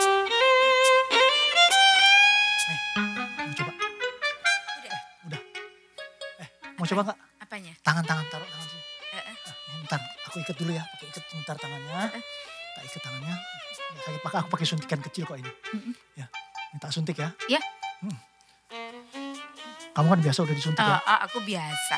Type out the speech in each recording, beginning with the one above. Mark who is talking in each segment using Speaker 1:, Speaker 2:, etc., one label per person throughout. Speaker 1: Eh, Coba kak,
Speaker 2: Apanya?
Speaker 1: tangan-tangan taruh tangan sini.
Speaker 2: Heeh.
Speaker 1: Nah, bentar, aku ikat dulu ya. Pakai ikat bentar tangannya.
Speaker 2: Heeh.
Speaker 1: Tak ikat tangannya. Nggak sakit pakai, aku pakai suntikan kecil kok ini.
Speaker 2: Mm-mm.
Speaker 1: Ya, minta suntik ya.
Speaker 2: Iya.
Speaker 1: Hmm. Kamu kan biasa udah disuntik
Speaker 2: Eh,
Speaker 1: ya?
Speaker 2: eh, aku biasa.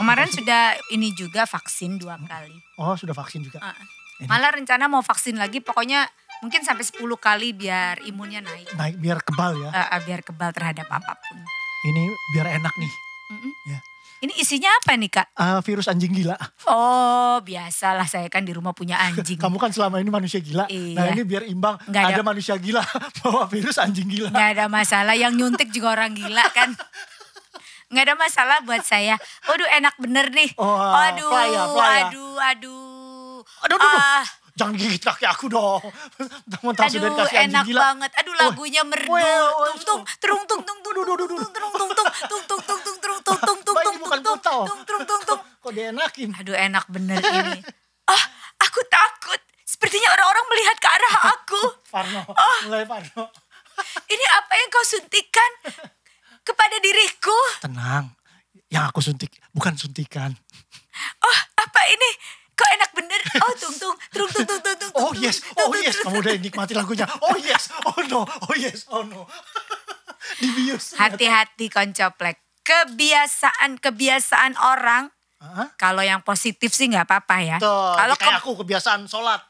Speaker 2: Kemarin sudah ini juga vaksin dua kali.
Speaker 1: Oh sudah vaksin juga.
Speaker 2: Heeh.
Speaker 1: Ini.
Speaker 2: Malah rencana mau vaksin lagi pokoknya mungkin sampai 10 kali biar imunnya naik.
Speaker 1: Naik biar kebal ya.
Speaker 2: Eh, eh, biar kebal terhadap apapun.
Speaker 1: Ini biar enak nih.
Speaker 2: Mm-mm.
Speaker 1: Ya.
Speaker 2: Ini isinya apa nih kak?
Speaker 1: Ah, virus anjing gila.
Speaker 2: Oh biasalah saya kan di rumah punya anjing.
Speaker 1: Kamu kan selama ini manusia gila. Nah
Speaker 2: Iya.
Speaker 1: ini biar imbang.
Speaker 2: Nggak
Speaker 1: ada...
Speaker 2: ada-
Speaker 1: manusia gila bawa virus anjing gila.
Speaker 2: Nggak ada masalah, yang nyuntik juga orang gila kan. Nggak ada masalah buat saya. Waduh enak bener nih.
Speaker 1: Oh,
Speaker 2: aduh,
Speaker 1: fly ya, fly ya.
Speaker 2: aduh, aduh.
Speaker 1: Aduh, aduh, aduh.
Speaker 2: Ah,
Speaker 1: Jangan gigit kaki aku dong. Mentang-mentang sudah
Speaker 2: aduh,
Speaker 1: dikasih anjing
Speaker 2: enak
Speaker 1: gila.
Speaker 2: banget. Aduh lagunya merdu.
Speaker 1: weh, weh,
Speaker 2: Tung tung terung tung tung tung tung tung terung tung tung tung tung tung tung terung tung tung tung
Speaker 1: Wah, ini bukan
Speaker 2: tung tung tung
Speaker 1: kutel.
Speaker 2: tung terung tung tung.
Speaker 1: Kok dienakin?
Speaker 2: Aduh enak bener ini. Ah, aku takut. Sepertinya orang-orang melihat ke arah aku.
Speaker 1: Parno,
Speaker 2: Oh.
Speaker 1: mulai Parno.
Speaker 2: Ini apa yang kau suntikan kepada diriku?
Speaker 1: Tenang, yang aku suntik bukan suntikan.
Speaker 2: oh apa ini kok enak bener oh tung tung tung tung tung tung tung
Speaker 1: Oh
Speaker 2: tung,
Speaker 1: yes, oh
Speaker 2: tung, tung,
Speaker 1: yes,
Speaker 2: tung.
Speaker 1: kamu udah nikmati lagunya. Oh yes, oh no, oh yes, oh no. Dibius.
Speaker 2: hati-hati koncoplek kebiasaan kebiasaan orang
Speaker 1: Hah?
Speaker 2: kalau yang positif sih nggak apa-apa ya
Speaker 1: Tuh,
Speaker 2: kalau
Speaker 1: kayak
Speaker 2: ke-
Speaker 1: aku kebiasaan sholat.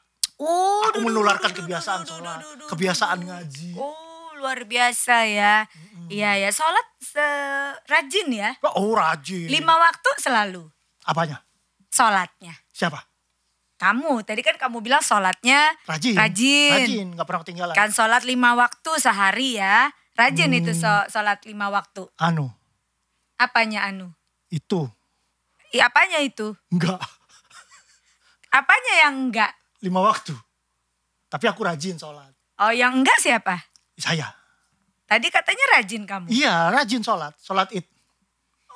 Speaker 2: Oh,
Speaker 1: Aku
Speaker 2: duh, duh,
Speaker 1: menularkan
Speaker 2: duh, duh,
Speaker 1: kebiasaan
Speaker 2: duh, duh,
Speaker 1: sholat,
Speaker 2: duh, duh, duh,
Speaker 1: kebiasaan
Speaker 2: duh.
Speaker 1: ngaji.
Speaker 2: oh luar biasa ya iya ya sholat se- rajin ya
Speaker 1: Oh rajin.
Speaker 2: lima waktu selalu
Speaker 1: Apanya?
Speaker 2: sholatnya
Speaker 1: Siapa?
Speaker 2: kamu tadi kan kamu bilang sholatnya
Speaker 1: Rajin.
Speaker 2: Rajin.
Speaker 1: Rajin, gak pernah ketinggalan.
Speaker 2: Kan sholat lima waktu sehari ya. Rajin itu
Speaker 1: Hmm.
Speaker 2: so- sholat lima waktu.
Speaker 1: Anu,
Speaker 2: Apanya Anu?
Speaker 1: itu,
Speaker 2: I, apanya itu?
Speaker 1: enggak.
Speaker 2: Apanya yang enggak?
Speaker 1: Lima waktu. Tapi aku rajin sholat.
Speaker 2: Oh yang enggak siapa?
Speaker 1: Saya.
Speaker 2: Tadi katanya rajin kamu.
Speaker 1: Iya, rajin sholat. Sholat id.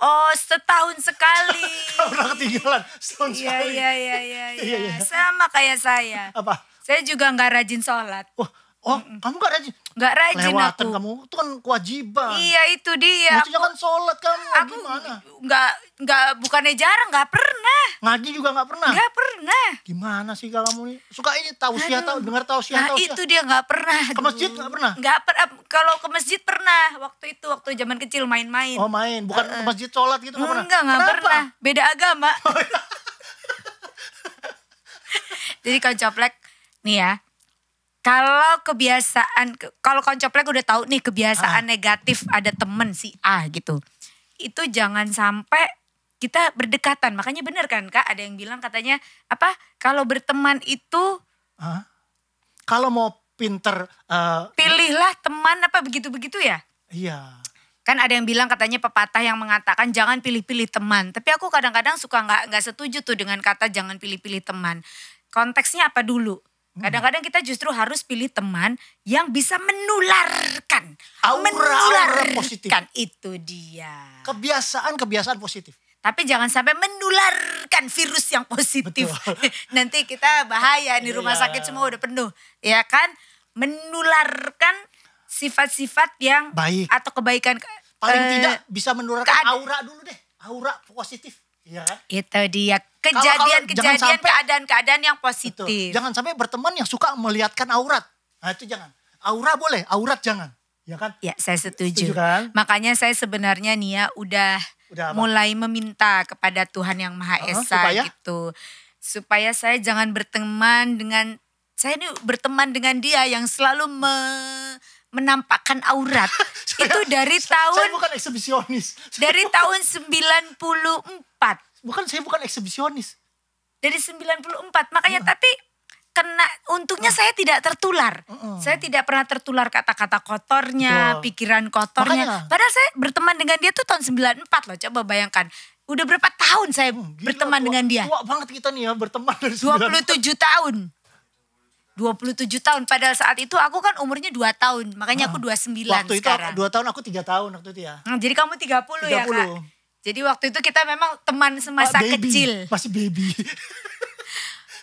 Speaker 2: Oh setahun sekali.
Speaker 1: Gak pernah ketinggalan. Setahun
Speaker 2: Iya
Speaker 1: sekali.
Speaker 2: iya iya iya.
Speaker 1: Iya,
Speaker 2: iya.
Speaker 1: iya.
Speaker 2: Sama kayak saya.
Speaker 1: Apa?
Speaker 2: Saya juga enggak rajin sholat.
Speaker 1: Oh, oh kamu gak rajin?
Speaker 2: Enggak rajin
Speaker 1: Lewatan
Speaker 2: aku.
Speaker 1: kamu. Itu kan kewajiban.
Speaker 2: Iya itu dia.
Speaker 1: Maksudnya kan sholat kamu.
Speaker 2: Aku
Speaker 1: Gimana?
Speaker 2: enggak enggak bukannya jarang enggak pernah.
Speaker 1: Ngaji juga gak pernah.
Speaker 2: Enggak pernah.
Speaker 1: Gimana sih kalau kamu ini? Suka ini tausiah, Ya,
Speaker 2: Aduh.
Speaker 1: tahu, dengar tausiah,
Speaker 2: Nah
Speaker 1: tausiah.
Speaker 2: itu dia nggak pernah.
Speaker 1: Ke masjid nggak pernah?
Speaker 2: Nggak pernah. Kalau ke masjid pernah waktu itu waktu zaman kecil main-main.
Speaker 1: Oh main, bukan ke masjid sholat gitu gak pernah?
Speaker 2: Enggak nggak
Speaker 1: Kenapa? Oh, iya.
Speaker 2: pernah. Beda agama. Jadi koncoplek nih ya. Kalau kebiasaan, kalau koncoplek udah tahu nih
Speaker 1: Ah.
Speaker 2: kebiasaan negatif ada temen si A gitu. Itu jangan sampai kita berdekatan. Makanya bener kan kak ada yang bilang katanya apa kalau berteman itu
Speaker 1: Hah? Kalau mau pinter, eh,
Speaker 2: pilihlah teman apa begitu-begitu ya?
Speaker 1: iya.
Speaker 2: Kan ada yang bilang katanya pepatah yang mengatakan jangan pilih-pilih teman. Tapi aku kadang-kadang suka nggak nggak setuju tuh dengan kata jangan pilih-pilih teman. Konteksnya apa dulu?
Speaker 1: Hmm.
Speaker 2: Kadang-kadang kita justru harus pilih teman yang bisa menularkan.
Speaker 1: Aura-aura positif.
Speaker 2: Itu dia.
Speaker 1: Kebiasaan-kebiasaan positif.
Speaker 2: Tapi jangan sampai menularkan virus yang positif.
Speaker 1: Betul.
Speaker 2: Nanti kita bahaya nih rumah
Speaker 1: Iya.
Speaker 2: sakit semua udah penuh. Ya kan? Menularkan sifat-sifat yang
Speaker 1: Baik.
Speaker 2: atau kebaikan
Speaker 1: Paling
Speaker 2: Eh,
Speaker 1: tidak bisa menurunkan
Speaker 2: kead-
Speaker 1: aura dulu deh. Aura positif. Iya kan?
Speaker 2: itu dia
Speaker 1: kalau jangan
Speaker 2: kejadian-kejadian
Speaker 1: sampai-
Speaker 2: keadaan-keadaan yang
Speaker 1: Betul.
Speaker 2: positif.
Speaker 1: Jangan sampai berteman yang suka melihatkan aurat. Nah itu jangan. Aura boleh, aurat jangan. Ya kan?
Speaker 2: Ya, saya setuju.
Speaker 1: Setuju kan?
Speaker 2: Makanya saya sebenarnya nih ya udah,
Speaker 1: Udah apa?
Speaker 2: mulai meminta kepada Tuhan Yang Maha
Speaker 1: Heeh,
Speaker 2: Esa
Speaker 1: supaya?
Speaker 2: gitu. Supaya saya jangan berteman dengan saya ini berteman dengan dia yang selalu me- menampakkan aurat. Itu dari
Speaker 1: Saya
Speaker 2: tahun
Speaker 1: bukan eksibisionis.
Speaker 2: dari tahun 94.
Speaker 1: Bukan saya bukan eksibisionis.
Speaker 2: dari 94 makanya
Speaker 1: Iya.
Speaker 2: tapi kena untungnya saya tidak tertular saya tidak pernah tertular kata-kata
Speaker 1: Betul.
Speaker 2: kotornya pikiran kotornya
Speaker 1: Makanya.
Speaker 2: padahal saya berteman dengan dia tuh tahun 94 loh coba bayangkan udah berapa tahun saya
Speaker 1: Hmm, gila,
Speaker 2: berteman
Speaker 1: tua-
Speaker 2: dengan dia
Speaker 1: Tua banget kita nih ya berteman dari 90.
Speaker 2: 27 tahun 27 tahun padahal saat itu aku kan umurnya 2 tahun makanya aku 29
Speaker 1: Ah, Waktu itu
Speaker 2: sekarang
Speaker 1: dua tahun aku tiga tahun waktu itu ya.
Speaker 2: Hmm, jadi kamu 30, ya kak
Speaker 1: 30.
Speaker 2: jadi waktu itu kita memang teman semasa
Speaker 1: Pak, baby.
Speaker 2: kecil
Speaker 1: Masih baby.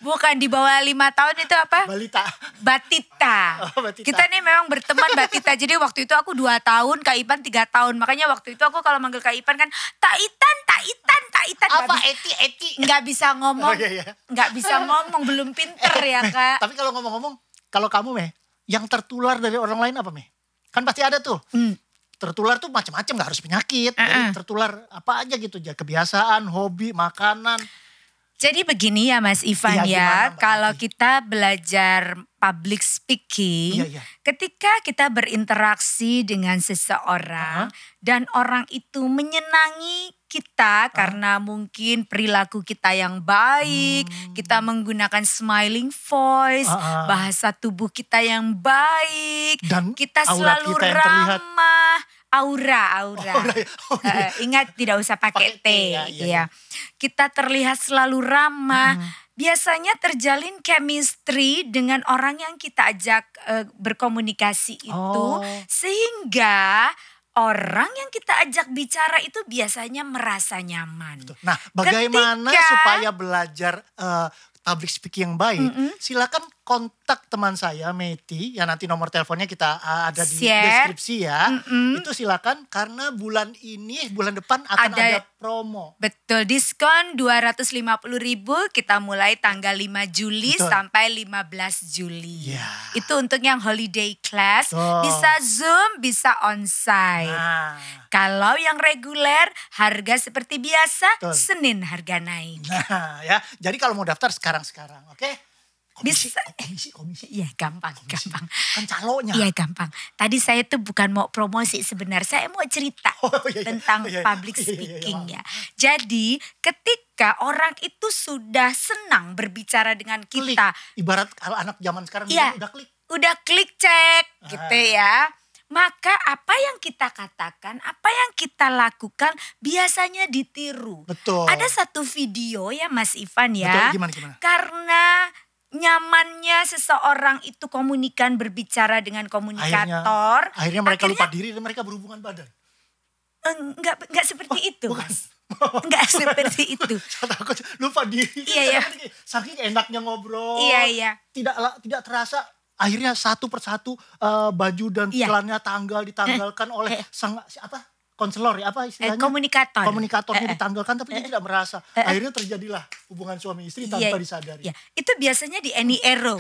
Speaker 2: bukan di bawah lima tahun itu apa
Speaker 1: Balita.
Speaker 2: Batita.
Speaker 1: Oh, Batita.
Speaker 2: Kita nih memang berteman Batita. Jadi waktu itu aku dua tahun, Kak Ipan tiga tahun. Makanya waktu itu aku kalau manggil Kak Ipan kan, Tak Itan, Tak Itan, Kaitan
Speaker 1: Apa eti eti?
Speaker 2: nggak bisa ngomong,
Speaker 1: Oh, iya, iya.
Speaker 2: nggak bisa ngomong, belum pinter ya kak.
Speaker 1: Tapi kalau ngomong-ngomong, kalau kamu meh, yang tertular dari orang lain apa meh? Kan pasti ada tuh.
Speaker 2: Hmm.
Speaker 1: Tertular tuh macam-macam, nggak harus penyakit. Jadi
Speaker 2: Uh-uh.
Speaker 1: tertular apa aja gitu, ya kebiasaan, hobi, makanan.
Speaker 2: Jadi begini ya Mas
Speaker 1: Iya,
Speaker 2: Ivan
Speaker 1: gimana,
Speaker 2: ya,
Speaker 1: Mbak
Speaker 2: kalau
Speaker 1: Ati?
Speaker 2: kita belajar public speaking,
Speaker 1: Iya, iya.
Speaker 2: ketika kita berinteraksi dengan seseorang dan orang itu menyenangi kita karena mungkin perilaku kita yang baik,
Speaker 1: Hmm.
Speaker 2: kita menggunakan smiling voice,
Speaker 1: Ah, ah.
Speaker 2: bahasa tubuh kita yang baik,
Speaker 1: Dan
Speaker 2: kita
Speaker 1: aurat
Speaker 2: selalu
Speaker 1: kita yang terlihat.
Speaker 2: ramah, aura, aura.
Speaker 1: Oh, iya. Oh, iya.
Speaker 2: Eh, ingat tidak usah
Speaker 1: Pakai
Speaker 2: pakai
Speaker 1: T,
Speaker 2: T,
Speaker 1: ya, iya, Hmm.
Speaker 2: gitu ya. Kita terlihat selalu ramah. Biasanya terjalin chemistry dengan orang yang kita ajak eh, berkomunikasi itu,
Speaker 1: Oh.
Speaker 2: sehingga orang yang kita ajak bicara itu biasanya merasa nyaman.
Speaker 1: Tuh. Nah, bagaimana
Speaker 2: Ketika-
Speaker 1: supaya belajar eh, public speaking yang baik? Silakan kontak teman saya Meti, ya nanti nomor teleponnya kita eh, ada di
Speaker 2: Share.
Speaker 1: deskripsi ya. Itu silakan karena bulan ini, bulan depan akan ada,
Speaker 2: Ada-
Speaker 1: promo.
Speaker 2: Betul, diskon 250.000 kita mulai tanggal 5 Juli
Speaker 1: Betul.
Speaker 2: sampai 15 Juli.
Speaker 1: Iya.
Speaker 2: Itu untuk yang holiday class,
Speaker 1: Betul.
Speaker 2: bisa Zoom, bisa onsite.
Speaker 1: Nah,
Speaker 2: Kalau yang reguler, harga seperti biasa,
Speaker 1: Betul.
Speaker 2: Senin harga naik.
Speaker 1: nah ya. Jadi kalau mau daftar sekarang-sekarang, oke? Komisi,
Speaker 2: Bisa.
Speaker 1: komisi, komisi,
Speaker 2: Iya gampang,
Speaker 1: komisi.
Speaker 2: gampang.
Speaker 1: Kan calonnya.
Speaker 2: Iya gampang. Tadi saya tuh bukan mau promosi sebenarnya, saya mau cerita
Speaker 1: Oh, iya, iya.
Speaker 2: tentang
Speaker 1: Iya, iya.
Speaker 2: public
Speaker 1: Iya, iya, iya,
Speaker 2: speaking ya. Jadi ketika orang itu sudah senang berbicara dengan
Speaker 1: Klik.
Speaker 2: kita,
Speaker 1: Ibarat kalau anak zaman sekarang
Speaker 2: Iya.
Speaker 1: bilang udah klik.
Speaker 2: udah klik cek gitu
Speaker 1: Ah.
Speaker 2: ya. Maka apa yang kita katakan, apa yang kita lakukan biasanya ditiru.
Speaker 1: Betul.
Speaker 2: Ada satu video ya Mas Ivan
Speaker 1: Betul,
Speaker 2: ya.
Speaker 1: gimana gimana?
Speaker 2: Karena nyamannya seseorang itu komunikan berbicara dengan komunikator.
Speaker 1: Akhirnya mereka
Speaker 2: akhirnya
Speaker 1: lupa diri dan mereka berhubungan badan.
Speaker 2: enggak enggak seperti itu,
Speaker 1: Oh, bukan.
Speaker 2: Mas. Enggak seperti itu.
Speaker 1: Saya takut lupa diri.
Speaker 2: Iya, iya.
Speaker 1: Saking enaknya ngobrol.
Speaker 2: Iya, iya.
Speaker 1: Tidak la- tidak terasa akhirnya satu persatu eh, baju dan
Speaker 2: Iya.
Speaker 1: celananya tanggal ditanggalkan oleh sang si- apa? Konselor ya apa
Speaker 2: Eh,
Speaker 1: istilahnya?
Speaker 2: komunikator.
Speaker 1: Komunikatornya
Speaker 2: Eh, eh.
Speaker 1: ditanggalkan tapi dia tidak merasa. Akhirnya terjadilah hubungan suami istri tanpa
Speaker 2: Iya,
Speaker 1: disadari.
Speaker 2: iya. Itu biasanya di Any Arrow.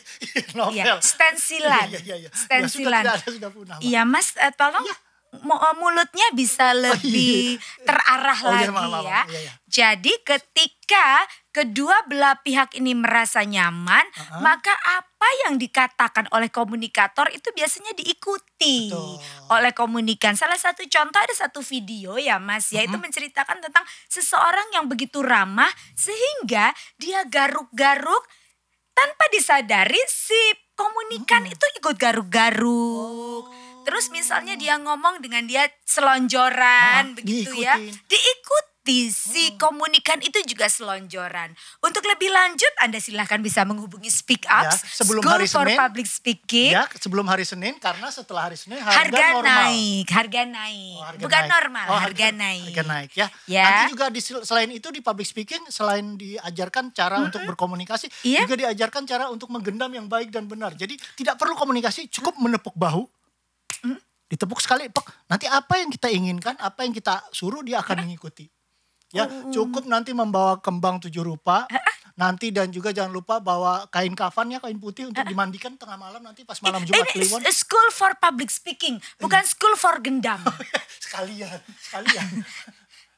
Speaker 1: Novel.
Speaker 2: Iya, stensilan.
Speaker 1: Oh, Iya, iya, iya. Ya,
Speaker 2: Stensilan.
Speaker 1: sudah tidak ada Nah, sudah punah.
Speaker 2: Iya mas, eh, tolong mu- eh, mulutnya bisa lebih terarah
Speaker 1: iya. Oh, iya,
Speaker 2: lagi
Speaker 1: maaf, maaf,
Speaker 2: ya.
Speaker 1: maaf. Iya, iya.
Speaker 2: Jadi ketika kedua belah pihak ini merasa nyaman, maka apa yang dikatakan oleh komunikator itu biasanya diikuti
Speaker 1: Betul.
Speaker 2: oleh komunikan. Salah satu contoh ada satu video ya mas, yaitu menceritakan tentang seseorang yang begitu ramah sehingga dia garuk-garuk tanpa disadari si komunikan itu ikut
Speaker 1: Oh,
Speaker 2: garuk-garuk. Terus misalnya dia ngomong dengan dia selonjoran
Speaker 1: Ah,
Speaker 2: begitu ya.
Speaker 1: diikutin. Hmm.
Speaker 2: Diikuti si komunikan itu juga selonjoran. Untuk lebih lanjut Anda silahkan bisa menghubungi Speak
Speaker 1: Ya,
Speaker 2: Up
Speaker 1: sebelum
Speaker 2: School
Speaker 1: hari
Speaker 2: for
Speaker 1: Senin.
Speaker 2: Public Speaking.
Speaker 1: Ya, sebelum hari Senin karena setelah hari Senin harga,
Speaker 2: Harga
Speaker 1: normal.
Speaker 2: naik, harga naik.
Speaker 1: Oh, harga
Speaker 2: Bukan
Speaker 1: naik.
Speaker 2: normal,
Speaker 1: Oh,
Speaker 2: harga, naik.
Speaker 1: Harga naik ya.
Speaker 2: Ya.
Speaker 1: Nanti juga di, selain itu di public speaking selain diajarkan cara untuk berkomunikasi,
Speaker 2: Iya.
Speaker 1: juga diajarkan cara untuk menggendam yang baik dan benar. Jadi tidak perlu komunikasi, cukup menepuk bahu.
Speaker 2: Mm.
Speaker 1: Ditepuk sekali, pek. Nanti apa yang kita inginkan, apa yang kita suruh dia akan mengikuti. Ya,
Speaker 2: Oh.
Speaker 1: cukup nanti membawa kembang tujuh rupa. Nanti dan juga jangan lupa bawa kain kafan ya, kain putih untuk dimandikan tengah malam nanti
Speaker 2: Eh,
Speaker 1: pas malam Jumat
Speaker 2: Ini
Speaker 1: Kliwon. Iya.
Speaker 2: s- school for public speaking, bukan school for gendam.
Speaker 1: sekalian, sekalian.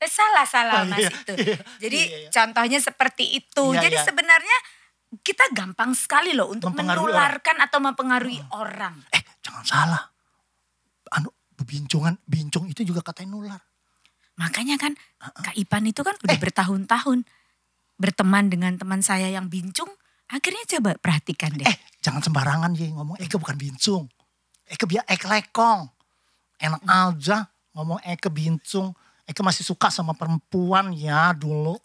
Speaker 2: Eh, salah salah
Speaker 1: Oh,
Speaker 2: mas
Speaker 1: iya,
Speaker 2: itu.
Speaker 1: iya,
Speaker 2: Jadi
Speaker 1: iya, iya.
Speaker 2: contohnya seperti itu.
Speaker 1: Iya,
Speaker 2: Jadi
Speaker 1: iya.
Speaker 2: sebenarnya kita gampang sekali loh untuk
Speaker 1: Mempengaruhi
Speaker 2: menularkan atau mempengaruhi orang.
Speaker 1: eh jangan salah anu bincungan bincung itu juga katanya nular
Speaker 2: Makanya kan Kak Ipan itu kan
Speaker 1: Eh.
Speaker 2: udah bertahun-tahun berteman dengan teman saya yang bincung. Akhirnya coba perhatikan deh.
Speaker 1: eh jangan sembarangan ya ngomong Eke bukan bincung Eke biar Eke lekong enak aja ngomong Eke bincung Eke masih suka sama perempuan ya dulu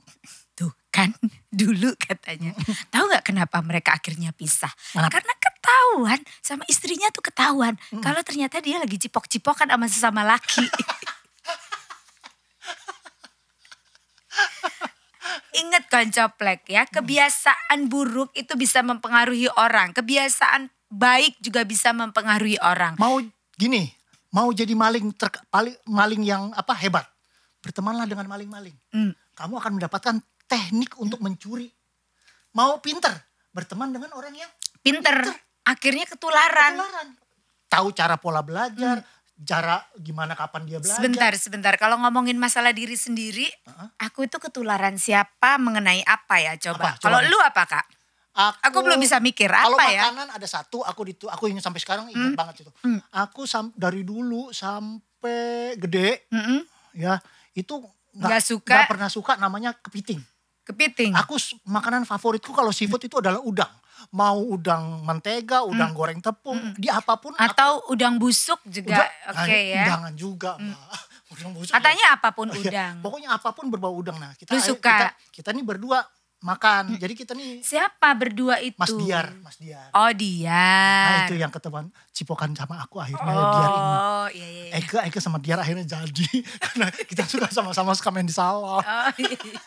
Speaker 2: Tuh kan dulu katanya. Tahu nggak kenapa mereka akhirnya pisah?
Speaker 1: Kenapa?
Speaker 2: Karena ketahuan sama istrinya tuh ketahuan. Kalau ternyata dia lagi cipok-cipokan sama sesama laki. Ingat koncoplek ya, kebiasaan buruk itu bisa mempengaruhi orang. Kebiasaan baik juga bisa mempengaruhi orang.
Speaker 1: mau gini mau jadi maling ter, pali- maling yang apa hebat bertemanlah dengan maling-maling.
Speaker 2: Mm.
Speaker 1: Kamu akan mendapatkan teknik untuk mencuri. Mau pinter, berteman dengan orang yang
Speaker 2: Pinter. Akhirnya ketularan.
Speaker 1: ketularan. Kan? Tahu cara pola belajar, cara gimana kapan dia belajar.
Speaker 2: Sebentar, sebentar. Kalau ngomongin masalah diri sendiri, aku itu ketularan siapa mengenai apa ya coba.
Speaker 1: Apa? Coba.
Speaker 2: Kalau lu apa kak?
Speaker 1: Aku,
Speaker 2: Aku belum bisa mikir
Speaker 1: Kalau
Speaker 2: apa ya. Hmm.
Speaker 1: makanan ada satu, aku ditu, aku ingin sampai sekarang ingat banget itu. Aku sam- dari dulu sampai gede,
Speaker 2: Mm-mm.
Speaker 1: ya itu
Speaker 2: Nggak suka.
Speaker 1: nggak pernah suka namanya kepiting.
Speaker 2: Kepiting.
Speaker 1: Aku s- makanan favoritku kalau seafood itu adalah udang. Mau udang mentega,
Speaker 2: Hmm.
Speaker 1: udang goreng tepung, di apapun. aku-
Speaker 2: Atau udang busuk juga.
Speaker 1: udah-
Speaker 2: Hmm. Oke
Speaker 1: nah,
Speaker 2: ya.
Speaker 1: Udangan juga, Mbak. Udang busuk.
Speaker 2: Katanya apapun
Speaker 1: Iya,
Speaker 2: udang.
Speaker 1: Pokoknya apapun berbau udang. Nah, kita
Speaker 2: Lu
Speaker 1: ayo-
Speaker 2: suka.
Speaker 1: kita, kita nih berdua makan. Jadi kita nih
Speaker 2: Siapa berdua itu?
Speaker 1: Mas Diar, Mas Diar.
Speaker 2: Oh Diar.
Speaker 1: Nah, itu yang ketemuan cipokan sama aku akhirnya ya, Diar ini. Eh.
Speaker 2: Oh iya iya. iya.
Speaker 1: Ega, Ega sama Diar akhirnya jadi karena kita suka sama-sama suka main di salon.
Speaker 2: Oh, iya, iya.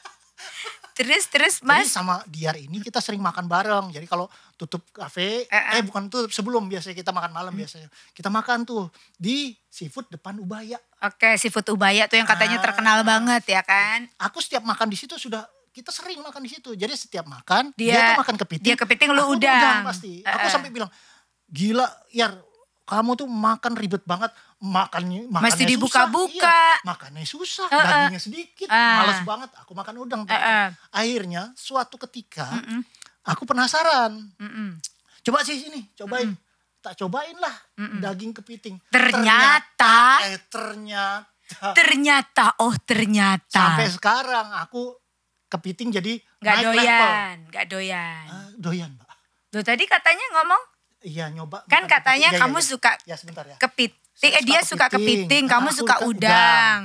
Speaker 2: terus terus
Speaker 1: Jadi
Speaker 2: Mas.
Speaker 1: sama Diar ini kita sering makan bareng. Jadi kalau tutup kafe,
Speaker 2: Eh, Hmm.
Speaker 1: eh bukan tutup sebelum biasanya kita makan malam biasanya. Kita makan tuh di seafood depan Ubaya.
Speaker 2: Oke, seafood ubaya tuh yang katanya
Speaker 1: Ah.
Speaker 2: terkenal banget ya kan?
Speaker 1: Aku setiap makan di situ sudah kita sering makan di situ. Jadi setiap makan dia,
Speaker 2: Dia-
Speaker 1: tuh makan kepiting.
Speaker 2: dia kepiting, lu
Speaker 1: aku tuh
Speaker 2: udang.
Speaker 1: pasti.
Speaker 2: Eh,
Speaker 1: Aku
Speaker 2: eh.
Speaker 1: sampai bilang, "Gila, Yar, kamu tuh makan ribet banget. Makannya makannya
Speaker 2: Mesti
Speaker 1: susah."
Speaker 2: dibuka-buka.
Speaker 1: Iya, makannya susah,
Speaker 2: Eh, eh.
Speaker 1: dagingnya sedikit.
Speaker 2: Ah.
Speaker 1: Males banget aku makan udang.
Speaker 2: Eh, eh.
Speaker 1: Akhirnya suatu ketika
Speaker 2: Mm.
Speaker 1: aku penasaran.
Speaker 2: Mm-mm.
Speaker 1: Coba sih sini, cobain. Tak cobain lah daging kepiting.
Speaker 2: Ternyata,
Speaker 1: eh ternyata
Speaker 2: ternyata, oh ternyata.
Speaker 1: eh. sampai sekarang aku kepiting jadi
Speaker 2: Gak
Speaker 1: naik level.
Speaker 2: doyan, gak doyan.
Speaker 1: Ah, doyan, Mbak.
Speaker 2: Tuh tadi katanya ngomong,
Speaker 1: Iya, nyoba.
Speaker 2: kan
Speaker 1: makan
Speaker 2: katanya
Speaker 1: kepiting. Ya,
Speaker 2: kamu
Speaker 1: ya, ya.
Speaker 2: suka
Speaker 1: Ya, sebentar ya.
Speaker 2: kepiting, eh
Speaker 1: Suka
Speaker 2: dia suka
Speaker 1: kepiting. Nah,
Speaker 2: kepiting, kamu
Speaker 1: Aku
Speaker 2: suka
Speaker 1: suka
Speaker 2: udang.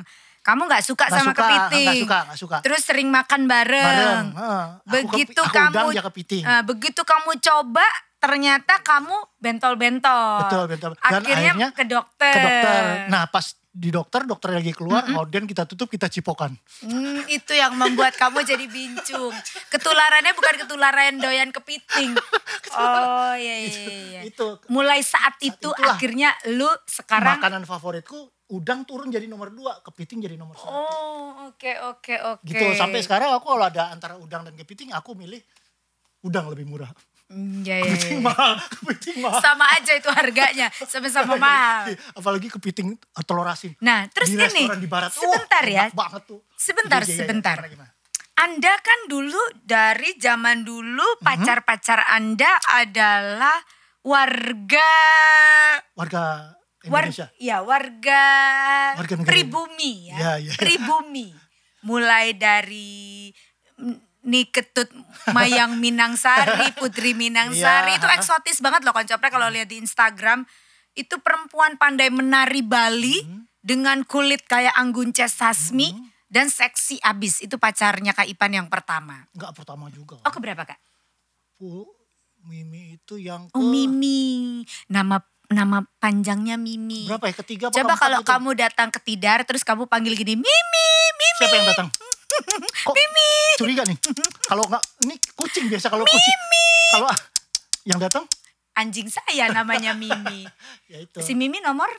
Speaker 2: Kamu gak suka
Speaker 1: Nggak
Speaker 2: sama
Speaker 1: suka,
Speaker 2: kepiting.
Speaker 1: nggak suka, nggak suka.
Speaker 2: Terus sering makan bareng.
Speaker 1: Bareng. heeh. Aku
Speaker 2: Begitu
Speaker 1: kepi- aku
Speaker 2: kamu
Speaker 1: udang, dia kepiting.
Speaker 2: eh, begitu kamu coba ternyata kamu bentol-bentol.
Speaker 1: Betul, betul. Dan
Speaker 2: Akhirnya,
Speaker 1: akhirnya
Speaker 2: ke dokter.
Speaker 1: Ke dokter. Nah, pas di dokter, dokter lagi keluar, orden kita tutup, kita cipokan.
Speaker 2: Hmm, itu yang membuat kamu jadi bincung. Ketularannya bukan ketularan doyan kepiting. Oh iya iya iya.
Speaker 1: Itu
Speaker 2: Mulai saat itu
Speaker 1: itulah.
Speaker 2: akhirnya lu sekarang
Speaker 1: makanan favoritku, udang turun jadi nomor dua, kepiting jadi nomor satu.
Speaker 2: Oh, oke oke oke.
Speaker 1: Gitu, sampai sekarang aku kalau ada antara udang dan kepiting, aku milih udang lebih murah.
Speaker 2: Hmm, iya, iya,
Speaker 1: Kepiting
Speaker 2: iya.
Speaker 1: mahal, kepiting mahal. Iya,
Speaker 2: Sama aja itu harganya, sama-sama mahal.
Speaker 1: Apalagi kepiting eh, telur asin.
Speaker 2: Nah, terus
Speaker 1: di
Speaker 2: ini,
Speaker 1: restoran di barat. Uh,
Speaker 2: sebentar ya.
Speaker 1: enak banget tuh.
Speaker 2: Sebentar,
Speaker 1: Iya, iya, iya.
Speaker 2: sebentar.
Speaker 1: Gimana, gimana?
Speaker 2: Anda kan dulu dari zaman dulu
Speaker 1: Mhm.
Speaker 2: pacar-pacar Anda adalah warga
Speaker 1: Warga
Speaker 2: war,
Speaker 1: Indonesia.
Speaker 2: ya warga,
Speaker 1: Warga negara
Speaker 2: pribumi
Speaker 1: Ya, ya.
Speaker 2: ya, pribumi. Mulai dari mm, Ni Ketut Mayang Minangsari, Putri Minangsari
Speaker 1: Ya,
Speaker 2: itu
Speaker 1: ha.
Speaker 2: eksotis banget loh koncoprek kalau lihat di Instagram. Itu perempuan pandai menari Bali
Speaker 1: Hmm.
Speaker 2: dengan kulit kayak Anggun C. Sasmi dan seksi abis. Itu pacarnya Kak Ipan yang pertama.
Speaker 1: Enggak pertama juga.
Speaker 2: Oh keberapa Kak?
Speaker 1: Bu, Mimi itu yang ke...
Speaker 2: Oh Mimi. Nama nama panjangnya Mimi.
Speaker 1: Berapa ya? Ketiga apa
Speaker 2: Coba
Speaker 1: keempat
Speaker 2: kalau
Speaker 1: gitu?
Speaker 2: kamu datang ke Tidar terus kamu panggil gini, Mimi, Mimi.
Speaker 1: Siapa yang datang? Kok
Speaker 2: Mimi.
Speaker 1: curiga nih? Kalau enggak, ini kucing biasa kalau kucing. Kalau yang datang,
Speaker 2: Anjing saya namanya Mimi.
Speaker 1: ya itu.
Speaker 2: Si Mimi nomor?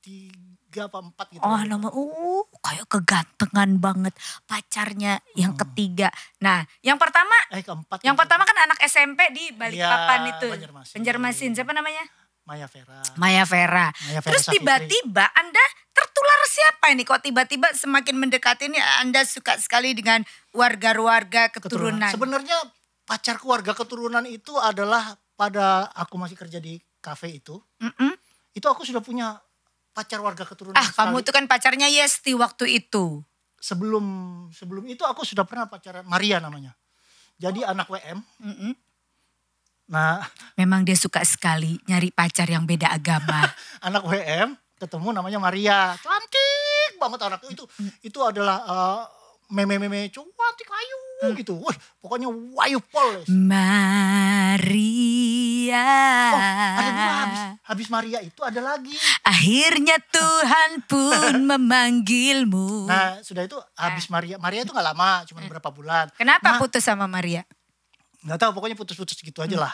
Speaker 1: Tiga apa empat gitu.
Speaker 2: Oh nomor, uh kayak kegantengan banget pacarnya yang
Speaker 1: Hmm.
Speaker 2: ketiga. Nah yang pertama,
Speaker 1: Eh keempat.
Speaker 2: yang
Speaker 1: gitu.
Speaker 2: pertama kan anak SMP di Balikpapan
Speaker 1: Iya,
Speaker 2: itu.
Speaker 1: Banjarmasin.
Speaker 2: Penjermasin, siapa namanya?
Speaker 1: Maya Vera.
Speaker 2: Maya Vera.
Speaker 1: Maya Vera
Speaker 2: Terus
Speaker 1: Safitri.
Speaker 2: tiba-tiba Anda tertular siapa ini? Kok tiba-tiba semakin mendekati ini Anda suka sekali dengan warga-warga keturunan.
Speaker 1: Sebenarnya pacar keluarga keturunan itu adalah pada aku masih kerja di kafe itu.
Speaker 2: Mm-mm.
Speaker 1: Itu aku sudah punya pacar warga keturunan.
Speaker 2: Ah kamu
Speaker 1: sekali.
Speaker 2: tuh kan pacarnya Yesti waktu itu.
Speaker 1: sebelum sebelum itu aku sudah pernah pacaran Maria namanya. Jadi anak WM.
Speaker 2: Mm-mm.
Speaker 1: Nah,
Speaker 2: Memang dia suka sekali nyari pacar yang beda agama.
Speaker 1: anak WM ketemu namanya Maria. Cantik banget anaknya itu. Itu adalah eh, meme-meme cantik ayu gitu. Wah, pokoknya wayu pol.
Speaker 2: Maria.
Speaker 1: Oh, ada dua habis habis Maria itu ada lagi.
Speaker 2: Akhirnya Tuhan pun memanggilmu.
Speaker 1: Nah, sudah itu habis Maria. Maria itu nggak lama, cuma berapa bulan. Nah,
Speaker 2: Kenapa putus sama Maria?
Speaker 1: nggak tahu pokoknya putus-putus gitu aja lah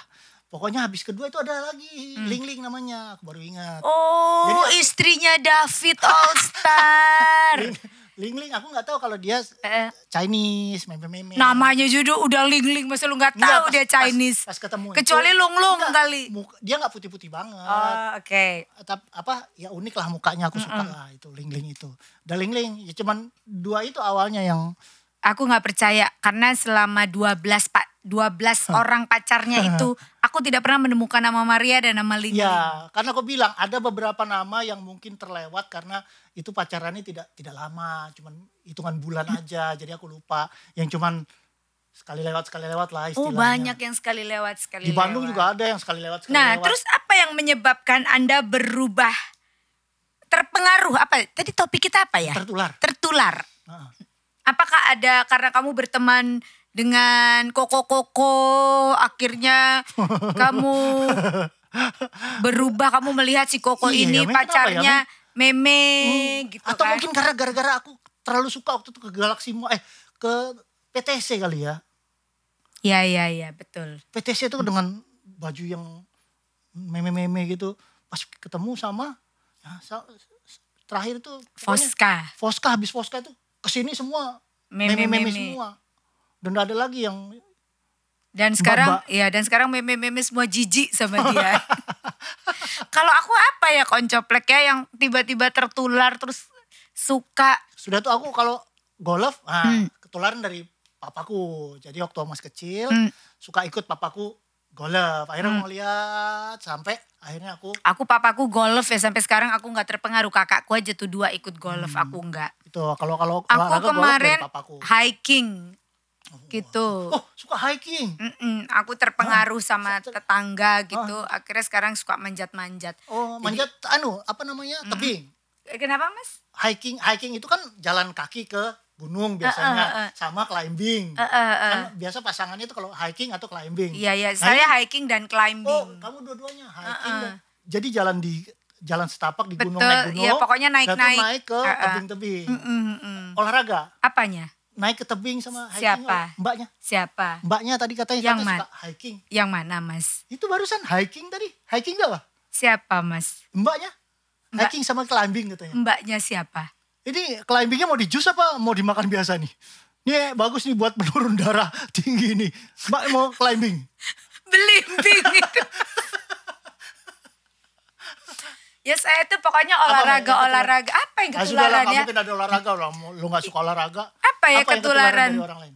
Speaker 1: pokoknya habis kedua itu ada lagi Ling Ling namanya aku baru ingat
Speaker 2: Oh,
Speaker 1: Jadi-
Speaker 2: istrinya David All Star.
Speaker 1: Ling- Ling Ling aku nggak tahu kalau dia
Speaker 2: Eh,
Speaker 1: Chinese, meme-meme.
Speaker 2: namanya juga udah lingling masa lu nggak tahu
Speaker 1: Nggak,
Speaker 2: dia
Speaker 1: pas-
Speaker 2: Chinese.
Speaker 1: Pas, pas ketemu itu,
Speaker 2: Kecuali lunglung
Speaker 1: nggak,
Speaker 2: kali.
Speaker 1: muka- dia nggak putih-putih banget.
Speaker 2: Oh, oke.
Speaker 1: Tapi apa ya unik lah mukanya aku suka lah itu Ling-Ling itu. Udah Ling-Ling ya cuman dua itu awalnya yang
Speaker 2: Aku nggak percaya karena selama 12 pak 12 orang pacarnya itu aku tidak pernah menemukan nama Maria dan nama Lingling.
Speaker 1: ya karena aku bilang ada beberapa nama yang mungkin terlewat karena itu pacarannya tidak tidak lama, cuman hitungan bulan
Speaker 2: Hmm.
Speaker 1: aja. jadi aku lupa yang cuman sekali lewat sekali lewat lah istilahnya.
Speaker 2: Oh banyak yang sekali lewat sekali.
Speaker 1: Di Bandung
Speaker 2: lewat.
Speaker 1: juga ada yang sekali lewat sekali
Speaker 2: Nah
Speaker 1: lewat.
Speaker 2: terus apa yang menyebabkan anda berubah terpengaruh apa? Tadi topik kita apa ya?
Speaker 1: tertular.
Speaker 2: Tertular.
Speaker 1: Heeh.
Speaker 2: Apakah ada karena kamu berteman dengan koko-koko akhirnya kamu berubah kamu melihat si koko
Speaker 1: Iya,
Speaker 2: ini
Speaker 1: ya, Meng,
Speaker 2: pacarnya
Speaker 1: kenapa
Speaker 2: meme gitu
Speaker 1: Atau
Speaker 2: kan.
Speaker 1: mungkin karena gara-gara aku terlalu suka waktu itu ke Galaxy Mall, eh ke PTC kali ya.
Speaker 2: Ya ya ya betul.
Speaker 1: PTC itu dengan baju yang meme-meme gitu. Pas ketemu sama ya, sa- terakhir itu pokoknya
Speaker 2: Fosca.
Speaker 1: Fosca habis Fosca itu kesini semua
Speaker 2: Meme-meme.
Speaker 1: meme-meme semua. Dan nggak ada lagi yang
Speaker 2: Dan sekarang
Speaker 1: Mbak-mbak.
Speaker 2: ya dan sekarang meme-meme semua jijik sama dia. Kalau aku apa ya koncoplek ya yang tiba-tiba tertular terus suka
Speaker 1: sudah tuh aku kalau golf ah, ketularan dari papaku jadi waktu masih kecil suka ikut papaku golf akhirnya mau lihat sampai akhirnya aku
Speaker 2: Aku papaku golf ya sampai sekarang aku nggak terpengaruh kakakku aja tuh dua ikut golf aku nggak.
Speaker 1: itu Gitu, kalau kalau
Speaker 2: Aku
Speaker 1: Hmm. olahraga golf dari
Speaker 2: kemarin
Speaker 1: papaku
Speaker 2: hiking gitu.
Speaker 1: oh suka hiking
Speaker 2: Mm-mm, aku terpengaruh sama tetangga gitu. Akhirnya sekarang suka manjat-manjat.
Speaker 1: oh manjat anu apa namanya tebing
Speaker 2: Eh, Kenapa mas?
Speaker 1: hiking hiking itu kan jalan kaki ke gunung
Speaker 2: Eh,
Speaker 1: biasanya sama climbing kan biasa pasangannya itu kalau hiking atau climbing
Speaker 2: Iya iya,
Speaker 1: Nah,
Speaker 2: saya hiking dan climbing. Eh,
Speaker 1: Oh, kamu dua-duanya hiking. dan- Jadi jalan di jalan setapak di gunung
Speaker 2: Betul,
Speaker 1: naik gunung.
Speaker 2: iya, pokoknya naik-naik.
Speaker 1: lalu naik ke
Speaker 2: Ah, ah.
Speaker 1: tebing-tebing.
Speaker 2: Mm-mm-mm.
Speaker 1: Olahraga,
Speaker 2: Apanya?
Speaker 1: naik ke tebing sama hiking.
Speaker 2: Siapa?
Speaker 1: oh, Mbaknya.
Speaker 2: Siapa?
Speaker 1: Mbaknya tadi katanya
Speaker 2: Yang
Speaker 1: katanya
Speaker 2: mana?
Speaker 1: suka hiking.
Speaker 2: Yang mana mas?
Speaker 1: Itu barusan hiking tadi. Hiking gak, Pak?
Speaker 2: Siapa mas?
Speaker 1: Mbaknya?
Speaker 2: Mbak.
Speaker 1: Hiking sama climbing katanya.
Speaker 2: Mbaknya siapa?
Speaker 1: Ini climbingnya mau di jus apa mau dimakan biasa nih? Ini bagus nih buat menurun darah tinggi nih. Mbak mau climbing.
Speaker 2: belimbing itu. ya saya tuh pokoknya olahraga
Speaker 1: Apa,
Speaker 2: olahraga apa yang
Speaker 1: Nah, sudah lah,
Speaker 2: ketularan
Speaker 1: kamu
Speaker 2: ya?
Speaker 1: mungkin ada olahraga lah. Mau- Lu gak suka olahraga.
Speaker 2: Apa ya
Speaker 1: yang
Speaker 2: ketularan?
Speaker 1: dari orang lain?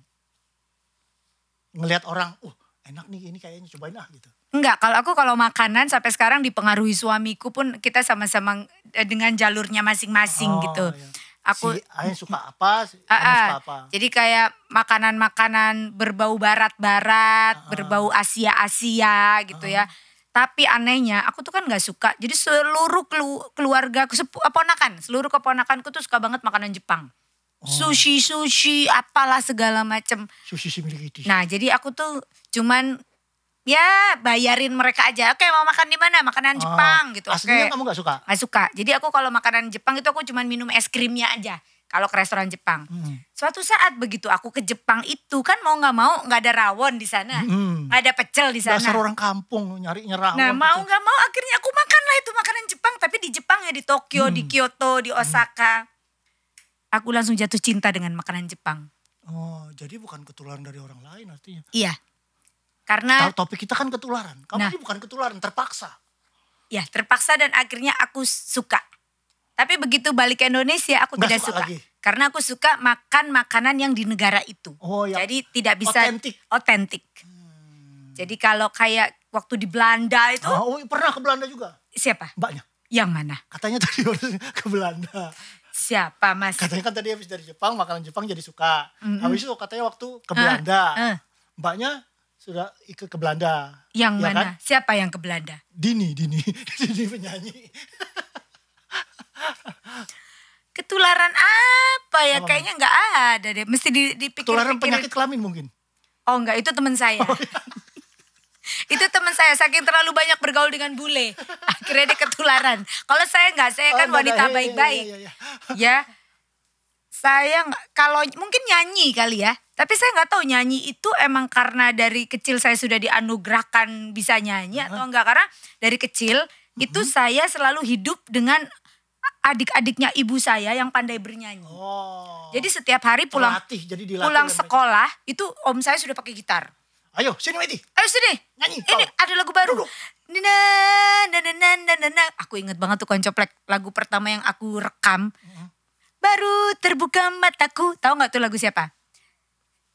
Speaker 1: Ngelihat orang, uh enak nih ini kayaknya cobain ah gitu.
Speaker 2: Enggak, kalau aku kalau makanan sampai sekarang dipengaruhi suamiku pun kita sama-sama eh, dengan jalurnya masing-masing
Speaker 1: Oh,
Speaker 2: gitu.
Speaker 1: iya.
Speaker 2: Aku
Speaker 1: si Ain suka apa, si
Speaker 2: Ah,
Speaker 1: kamu
Speaker 2: ah.
Speaker 1: suka apa.
Speaker 2: Jadi kayak makanan-makanan berbau barat-barat, berbau Asia-Asia gitu ya. Tapi anehnya aku tuh kan gak suka. Jadi seluruh kelu- keluarga, sepu- keponakan, seluruh keponakanku tuh suka banget makanan Jepang. Sushi-sushi apalah segala macem.
Speaker 1: Sushi Similiki.
Speaker 2: Nah jadi aku tuh cuman ya bayarin mereka aja. Oke mau makan di mana? Makanan Jepang gitu.
Speaker 1: Ah,
Speaker 2: Oke
Speaker 1: Aslinya kamu gak suka?
Speaker 2: nggak suka. Jadi aku kalau makanan Jepang itu aku cuman minum es krimnya aja. Kalau ke restoran Jepang.
Speaker 1: Hmm.
Speaker 2: Suatu saat begitu aku ke Jepang itu kan mau nggak mau nggak ada rawon di sana,
Speaker 1: Mm-mm.
Speaker 2: nggak ada pecel Nah, di sana.
Speaker 1: hmm. Dasar orang kampung nyari nyerah.
Speaker 2: Nah mau nggak mau akhirnya aku makan lah itu makanan Jepang tapi di Jepang ya di Tokyo,
Speaker 1: Mm.
Speaker 2: di Kyoto, di Osaka. Aku langsung jatuh cinta dengan makanan Jepang.
Speaker 1: Oh, jadi bukan ketularan dari orang lain artinya.
Speaker 2: Iya. Karena
Speaker 1: Tahu topik kita kan ketularan. Kamu
Speaker 2: Nah.
Speaker 1: ini bukan ketularan, terpaksa.
Speaker 2: ya terpaksa dan akhirnya aku suka. Tapi begitu balik ke Indonesia aku
Speaker 1: Nggak
Speaker 2: tidak
Speaker 1: suka
Speaker 2: suka.
Speaker 1: lagi.
Speaker 2: Karena aku suka makan makanan yang di negara itu.
Speaker 1: Oh, yang
Speaker 2: Jadi tidak bisa
Speaker 1: otentik. Hmm.
Speaker 2: otentik. Jadi kalau kayak waktu di Belanda itu
Speaker 1: Oh, pernah ke Belanda juga?
Speaker 2: siapa?
Speaker 1: Mbaknya.
Speaker 2: Yang mana?
Speaker 1: Katanya tadi harus ke Belanda.
Speaker 2: Siapa Mas?
Speaker 1: katanya kan tadi habis dari Jepang makanan Jepang jadi suka habis itu katanya waktu ke
Speaker 2: Ah,
Speaker 1: Belanda
Speaker 2: ah.
Speaker 1: mbaknya sudah ikut ke Belanda
Speaker 2: Yang
Speaker 1: Ya
Speaker 2: mana?
Speaker 1: kan?
Speaker 2: Siapa yang ke Belanda?
Speaker 1: Dini Dini Dini penyanyi
Speaker 2: Ketularan apa ya?
Speaker 1: Apa, Mas?
Speaker 2: Kayaknya nggak ada deh. Mesti di, dipikir
Speaker 1: ketularan penyakit iya. kelamin mungkin
Speaker 2: Oh enggak, itu teman saya. itu teman saya saking terlalu banyak bergaul dengan bule. Akhirnya dia ketularan. Kalau saya enggak, saya kan
Speaker 1: Oh, enggak,
Speaker 2: wanita
Speaker 1: enggak, iya,
Speaker 2: baik-baik.
Speaker 1: iya, iya, iya.
Speaker 2: Ya. Saya nggak- kalau mungkin nyanyi kali ya. Tapi saya nggak tahu nyanyi itu emang karena dari kecil saya sudah dianugerahkan
Speaker 1: Mhm.
Speaker 2: bisa nyanyi atau enggak karena dari kecil itu saya selalu hidup dengan adik-adiknya ibu saya yang pandai bernyanyi.
Speaker 1: Oh.
Speaker 2: Jadi setiap hari pulang
Speaker 1: Pelatih, jadi dilatih
Speaker 2: pulang
Speaker 1: oleh mereka.
Speaker 2: sekolah itu om saya sudah pakai gitar.
Speaker 1: Ayo, sini Widi.
Speaker 2: Ayo sini.
Speaker 1: Nyanyi,
Speaker 2: Ini
Speaker 1: kau.
Speaker 2: ada lagu baru.
Speaker 1: Duduk.
Speaker 2: Nina, na, na, na, na, na, na. Aku inget banget tuh koncoplek. Lagu pertama yang aku rekam.
Speaker 1: Mm-hmm.
Speaker 2: Baru terbuka mataku. Tahu gak tuh lagu siapa?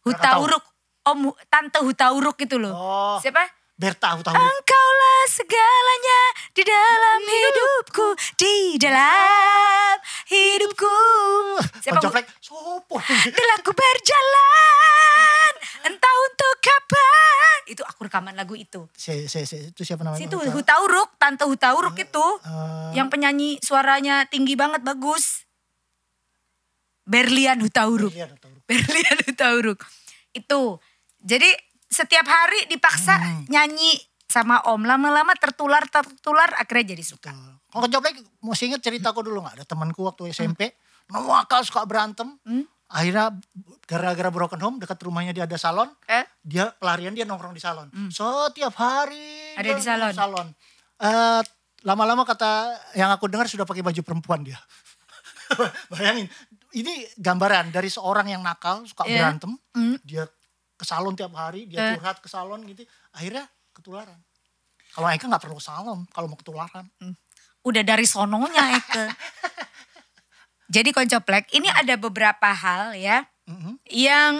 Speaker 1: Nggak tahu.
Speaker 2: Hutauruk. Om, Hu- Tante Hutauruk itu loh.
Speaker 1: Oh.
Speaker 2: Siapa?
Speaker 1: Berta, aku tahu.
Speaker 2: Ah, Engkaulah segalanya di dalam hidupku, di dalam hidupku. Siapa
Speaker 1: Koncoplek, sopo.
Speaker 2: Telah ku berjalan entah untuk kapan. Itu aku rekaman lagu itu.
Speaker 1: Si, si, si, itu siapa namanya?
Speaker 2: Situ
Speaker 1: Huta-
Speaker 2: Hutauruk, Tante Hutauruk itu.
Speaker 1: eh.
Speaker 2: yang penyanyi suaranya tinggi banget bagus. Berlian Hutauruk.
Speaker 1: Berlian Hutauruk.
Speaker 2: Berlian Hutauruk. Itu. Jadi setiap hari dipaksa nyanyi sama Om. Lama-lama tertular tertular akhirnya jadi suka.
Speaker 1: Kalau kejoplek, mesti inget cerita aku dulu nggak? Ada temanku waktu SMP, nawakal suka berantem. Akhirnya gara-gara broken home dekat rumahnya dia ada salon.
Speaker 2: Eh?
Speaker 1: Dia pelarian dia nongkrong di salon. Setiap hari
Speaker 2: Hmm. Ada
Speaker 1: dia
Speaker 2: di salon?
Speaker 1: salon. Eh, lama-lama kata yang aku dengar sudah pakai baju perempuan dia. Bayangin, ini gambaran dari seorang yang nakal suka
Speaker 2: Iya.
Speaker 1: berantem, dia ke salon tiap hari, dia
Speaker 2: Eh.
Speaker 1: curhat ke salon gitu, akhirnya ketularan. Kalau Eka nggak perlu salon, kalau mau ketularan.
Speaker 2: udah dari sononya Eke. Jadi koncoplek ini ada beberapa hal ya
Speaker 1: Mhm.
Speaker 2: yang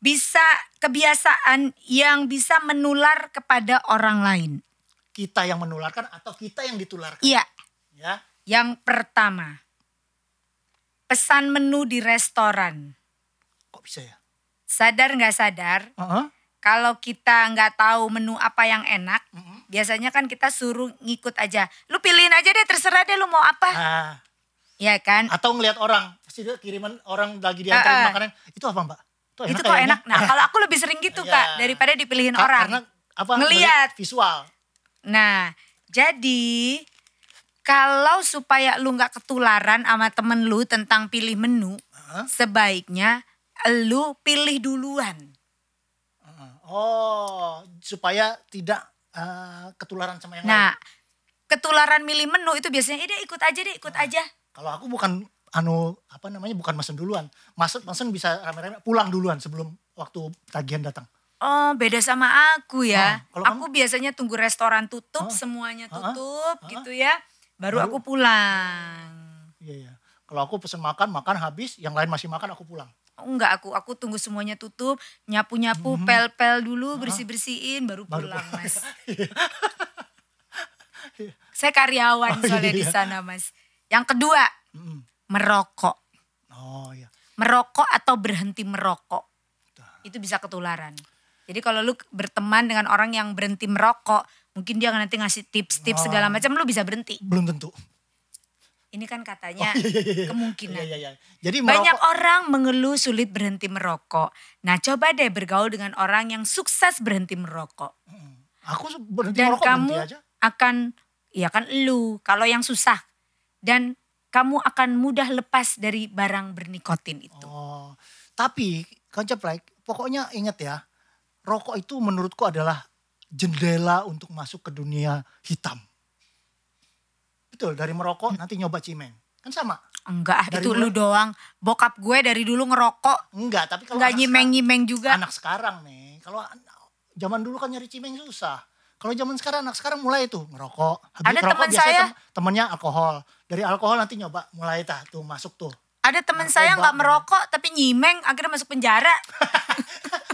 Speaker 2: bisa kebiasaan yang bisa menular kepada orang lain.
Speaker 1: kita yang menularkan atau kita yang ditularkan
Speaker 2: Iya,
Speaker 1: ya
Speaker 2: yang pertama pesan menu di restoran.
Speaker 1: kok bisa ya
Speaker 2: Sadar nggak sadar kalau kita nggak tahu menu apa yang enak, biasanya kan kita suruh ngikut aja. Lu pilihin aja deh terserah deh lu mau apa.
Speaker 1: Ah,
Speaker 2: Ya kan?
Speaker 1: atau ngelihat orang pasti dia kiriman orang lagi diantarin
Speaker 2: Ah, ah.
Speaker 1: makanan itu apa mbak
Speaker 2: itu kok
Speaker 1: kayaknya.
Speaker 2: enak. Nah, kalau aku lebih sering gitu,
Speaker 1: ya, Iya.
Speaker 2: Kak, daripada dipilihin
Speaker 1: Ka-
Speaker 2: orang.
Speaker 1: karena apa
Speaker 2: Ngelihat.
Speaker 1: ngelihat visual
Speaker 2: Nah, jadi kalau supaya lu nggak ketularan sama temen lu tentang pilih menu,
Speaker 1: Hah?
Speaker 2: sebaiknya lu pilih duluan.
Speaker 1: oh supaya tidak eh, ketularan sama yang
Speaker 2: Nah,
Speaker 1: lain
Speaker 2: ketularan milih menu itu biasanya, "Eh, deh ikut aja deh,
Speaker 1: Nah.
Speaker 2: ikut aja."
Speaker 1: kalau aku bukan anu apa namanya bukan mesen duluan maksud mesen bisa rame-rame pulang duluan sebelum waktu tagihan datang
Speaker 2: Oh, beda sama aku ya.
Speaker 1: Ah, kalau
Speaker 2: aku biasanya tunggu restoran tutup, semuanya
Speaker 1: Ah, ah,
Speaker 2: tutup
Speaker 1: ah.
Speaker 2: gitu ya. Baru,
Speaker 1: Baru-
Speaker 2: aku pulang.
Speaker 1: iya iya kalau aku pesen makan makan habis yang lain masih makan aku pulang
Speaker 2: Enggak aku, aku tunggu semuanya tutup, nyapu-nyapu, pel-pel dulu, bersih-bersihin, baru
Speaker 1: Hmm. Baru Iya.
Speaker 2: pulang mas. Saya karyawan
Speaker 1: Oh,
Speaker 2: soalnya
Speaker 1: iya.
Speaker 2: di sana mas. Yang kedua,
Speaker 1: Mm-mm.
Speaker 2: merokok.
Speaker 1: oh iya
Speaker 2: Merokok atau berhenti merokok. Itu bisa ketularan. Jadi kalau lu berteman dengan orang yang berhenti merokok, mungkin dia nanti ngasih
Speaker 1: Oh.
Speaker 2: tips-tips segala macam, lu bisa berhenti.
Speaker 1: belum tentu
Speaker 2: Ini kan katanya
Speaker 1: iya, iya, iya.
Speaker 2: kemungkinan.
Speaker 1: Iya, iya, iya. Jadi
Speaker 2: Banyak
Speaker 1: merokok,
Speaker 2: orang mengeluh sulit berhenti merokok. Nah, coba deh bergaul dengan orang yang sukses berhenti merokok.
Speaker 1: aku berhenti
Speaker 2: Dan
Speaker 1: merokok
Speaker 2: kamu
Speaker 1: berhenti aja.
Speaker 2: akan ya kan lu kalau yang susah dan kamu akan mudah lepas dari barang bernikotin itu.
Speaker 1: Oh, tapi konsep like, pokoknya inget ya, rokok itu menurutku adalah jendela untuk masuk ke dunia hitam. Betul, dari merokok nanti nyoba cimeng. Kan sama?
Speaker 2: Enggak, ah,
Speaker 1: Dari
Speaker 2: itu lu
Speaker 1: mulai-
Speaker 2: doang. Bokap gue dari dulu ngerokok,
Speaker 1: Enggak, tapi kalau
Speaker 2: enggak
Speaker 1: anak
Speaker 2: nyimeng-nyimeng
Speaker 1: sekarang,
Speaker 2: juga.
Speaker 1: anak sekarang nih, kalau an- zaman dulu kan nyari cimeng susah. Kalau zaman sekarang anak sekarang mulai tuh ngerokok. Habis
Speaker 2: Ada
Speaker 1: ngerokok
Speaker 2: teman
Speaker 1: biasanya
Speaker 2: saya-
Speaker 1: tem- temennya alkohol. Dari alkohol nanti nyoba mulai tah tuh masuk tuh.
Speaker 2: Ada teman
Speaker 1: Narkoba.
Speaker 2: saya enggak merokok tapi nyimeng akhirnya masuk penjara.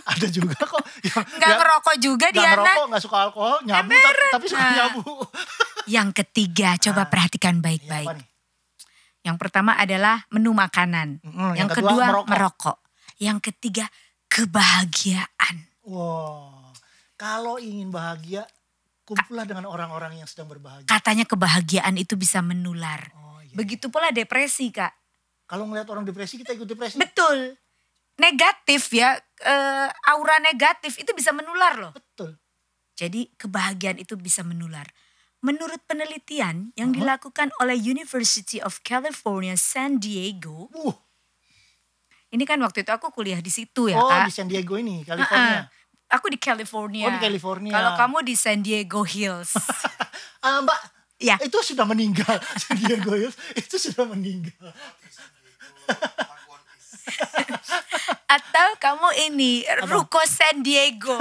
Speaker 1: ada juga kok yang
Speaker 2: Enggak
Speaker 1: yang
Speaker 2: ngerokok juga
Speaker 1: nggak
Speaker 2: Diana.
Speaker 1: ngerokok nggak suka alkohol nyabu tapi, tapi suka
Speaker 2: Nah.
Speaker 1: nyabu
Speaker 2: Yang ketiga, coba perhatikan
Speaker 1: Iya, apa
Speaker 2: baik-baik.
Speaker 1: nih?
Speaker 2: Yang pertama adalah menu makanan.
Speaker 1: Mm,
Speaker 2: yang,
Speaker 1: yang
Speaker 2: kedua,
Speaker 1: kedua,
Speaker 2: merokok.
Speaker 1: merokok.
Speaker 2: Yang ketiga kebahagiaan.
Speaker 1: wow kalau ingin bahagia kumpullah dengan orang-orang yang sedang berbahagia
Speaker 2: Katanya kebahagiaan itu bisa menular.
Speaker 1: oh, iya.
Speaker 2: Begitu pula depresi kak.
Speaker 1: kalau ngelihat orang depresi kita ikut depresi
Speaker 2: Betul. Negatif ya, eh, aura negatif itu bisa menular loh.
Speaker 1: betul
Speaker 2: Jadi kebahagiaan itu bisa menular. Menurut penelitian yang
Speaker 1: Uh-huh.
Speaker 2: dilakukan oleh University of California San Diego,
Speaker 1: uh
Speaker 2: ini kan waktu itu aku kuliah di situ ya
Speaker 1: oh
Speaker 2: kak.
Speaker 1: di San Diego ini California
Speaker 2: Heeh. Aku di California.
Speaker 1: Oh, di California.
Speaker 2: Kalau kamu di San Diego Hills.
Speaker 1: Ah, mbak
Speaker 2: Ya.
Speaker 1: Itu sudah meninggal. Sandiago Yus itu sudah meninggal.
Speaker 2: Atau kamu ini Ruko San Diego.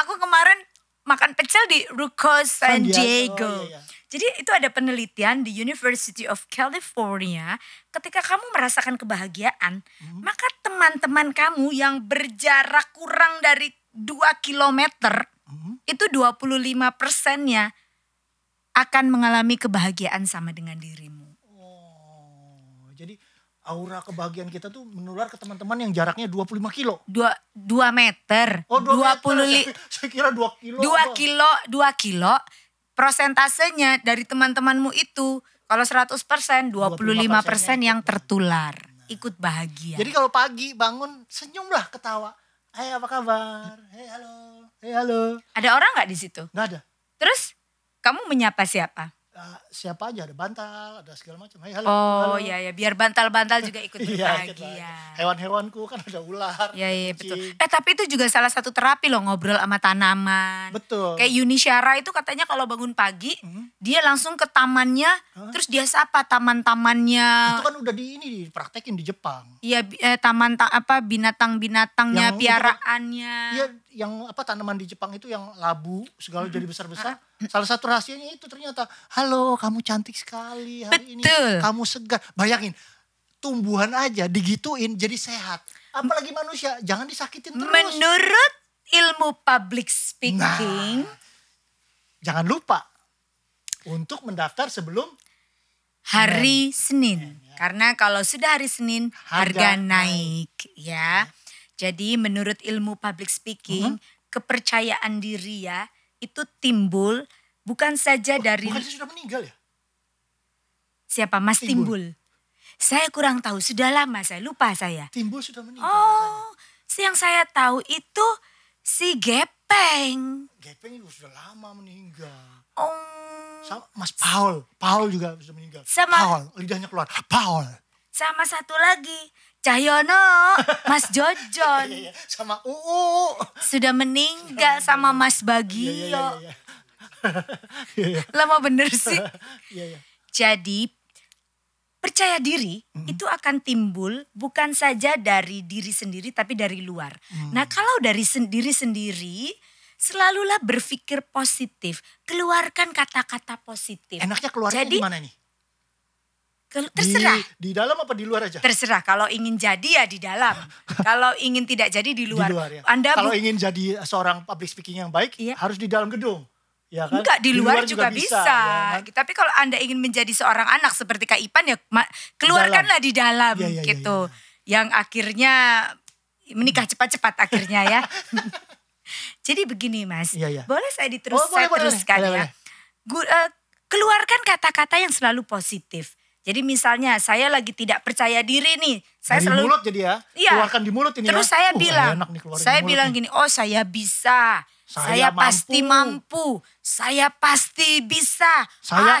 Speaker 2: Aku kemarin makan pecel di Ruko
Speaker 1: San
Speaker 2: San
Speaker 1: Diego,
Speaker 2: Diego.
Speaker 1: iya, iya.
Speaker 2: Jadi itu ada penelitian di University of California, ketika kamu merasakan kebahagiaan,
Speaker 1: Hmm.
Speaker 2: maka teman-teman kamu yang berjarak kurang dari 2 km,
Speaker 1: Hmm.
Speaker 2: itu 25 persennya akan mengalami kebahagiaan sama dengan dirimu.
Speaker 1: Oh, jadi aura kebahagiaan kita tuh menular ke teman-teman yang jaraknya 25 kilo.
Speaker 2: dua dua meter,
Speaker 1: Oh, 2
Speaker 2: dua puluh
Speaker 1: meter.
Speaker 2: li,
Speaker 1: Saya, saya kira 2 kilo.
Speaker 2: dua
Speaker 1: apa.
Speaker 2: kilo, dua kilo, prosentasenya dari teman-temanmu itu kalau 100 persen, 25 persen yang tertular, ikut bahagia.
Speaker 1: Jadi kalau pagi bangun senyumlah ketawa. Hai apa kabar? Hei halo. Hei halo.
Speaker 2: ada orang nggak di situ?
Speaker 1: Nggak ada.
Speaker 2: Terus kamu menyapa siapa?
Speaker 1: Ah, siapa aja ada bantal, ada segala macam. Hei halo. halo.
Speaker 2: Oh ya ya, biar bantal-bantal juga ikut
Speaker 1: Iya, kita-
Speaker 2: berbahagia.
Speaker 1: Hewan-hewanku kan ada ular.
Speaker 2: Ya ya betul.
Speaker 1: kucing.
Speaker 2: Eh tapi itu juga salah satu terapi loh ngobrol sama tanaman.
Speaker 1: Betul. Hmm?
Speaker 2: Kayak Yuni Syara itu katanya kalau bangun pagi dia langsung ke tamannya, terus dia sapa taman-tamannya.
Speaker 1: Itu kan udah di ini dipraktekin di Jepang.
Speaker 2: Iya bi- eh, taman ta- apa binatang-binatangnya,
Speaker 1: Yang untuk-
Speaker 2: piaraannya.
Speaker 1: Iya, yang apa tanaman di Jepang itu yang labu segala jadi besar-besar. Salah satu rahasianya itu ternyata, "Halo, kamu cantik sekali hari ini.
Speaker 2: Betul.
Speaker 1: Kamu segar." Bayangin, tumbuhan aja digituin jadi sehat. Apalagi manusia, jangan disakitin terus.
Speaker 2: Menurut ilmu public speaking,
Speaker 1: Nah, jangan lupa untuk mendaftar sebelum
Speaker 2: hari Senin. Karena kalau sudah hari Senin harga,
Speaker 1: ya. Harga
Speaker 2: naik. ya. Jadi menurut ilmu public speaking,
Speaker 1: Hmm?
Speaker 2: kepercayaan diri ya itu timbul bukan saja dari
Speaker 1: bukan dia sudah meninggal ya?
Speaker 2: siapa Mas Timbul.
Speaker 1: Timbul.
Speaker 2: Saya kurang tahu, sudah lama saya lupa saya.
Speaker 1: Timbul sudah meninggal.
Speaker 2: Oh, yang saya tahu itu si Gepeng.
Speaker 1: Gepeng juga sudah lama meninggal.
Speaker 2: Oh,
Speaker 1: Sama Mas Paul, Paul juga sudah meninggal.
Speaker 2: Sama-
Speaker 1: Paul, lidahnya keluar. Paul.
Speaker 2: sama satu lagi Cahyono, Mas Jojon.
Speaker 1: Iya, sama UU.
Speaker 2: sudah meninggal sama Mas
Speaker 1: Iya, iya, iya,
Speaker 2: Bagio.
Speaker 1: iya. Iya, iya.
Speaker 2: Lama bener sih.
Speaker 1: Iya, iya.
Speaker 2: Jadi percaya diri
Speaker 1: Mm-hmm.
Speaker 2: itu akan timbul bukan saja dari diri sendiri tapi dari luar.
Speaker 1: Mm.
Speaker 2: Nah kalau dari sendiri sendiri selalulah berpikir positif. Keluarkan kata-kata positif.
Speaker 1: Enaknya keluarnya
Speaker 2: Jadi,
Speaker 1: di mana nih?
Speaker 2: Kel-
Speaker 1: Di-
Speaker 2: Terserah.
Speaker 1: Di, dalam apa di luar aja?
Speaker 2: Terserah kalau ingin jadi ya di dalam. kalau ingin tidak jadi di luar.
Speaker 1: Di luar ya.
Speaker 2: Anda
Speaker 1: Kalau
Speaker 2: bu-
Speaker 1: ingin jadi seorang public speaking yang baik,
Speaker 2: Iya.
Speaker 1: harus di dalam gedung. Ya kan?
Speaker 2: Enggak, di luar, juga, bisa.
Speaker 1: ya kan?
Speaker 2: Gitu. Tapi kalau Anda ingin menjadi seorang anak seperti Kak Ipan ya ma- keluarkanlah di dalam
Speaker 1: Iya, iya, iya,
Speaker 2: gitu. Yang akhirnya menikah cepat-cepat akhirnya ya. Jadi begini Mas,
Speaker 1: Iya, iya.
Speaker 2: boleh saya diterus
Speaker 1: Oh, boleh,
Speaker 2: saya
Speaker 1: boleh,
Speaker 2: teruskan
Speaker 1: boleh,
Speaker 2: ya.
Speaker 1: boleh.
Speaker 2: Gu- eh, keluarkan kata-kata yang selalu positif. Jadi misalnya saya lagi tidak percaya diri nih, saya
Speaker 1: Dari
Speaker 2: selalu
Speaker 1: mulut jadi ya.
Speaker 2: Iya.
Speaker 1: Keluarkan di mulut ini
Speaker 2: Terus
Speaker 1: ya.
Speaker 2: saya
Speaker 1: Uh,
Speaker 2: bilang,
Speaker 1: enak nih keluarin
Speaker 2: saya
Speaker 1: di mulut
Speaker 2: bilang
Speaker 1: nih.
Speaker 2: gini, oh saya bisa,
Speaker 1: Saya
Speaker 2: saya, pasti
Speaker 1: mampu.
Speaker 2: mampu, saya pasti bisa, saya,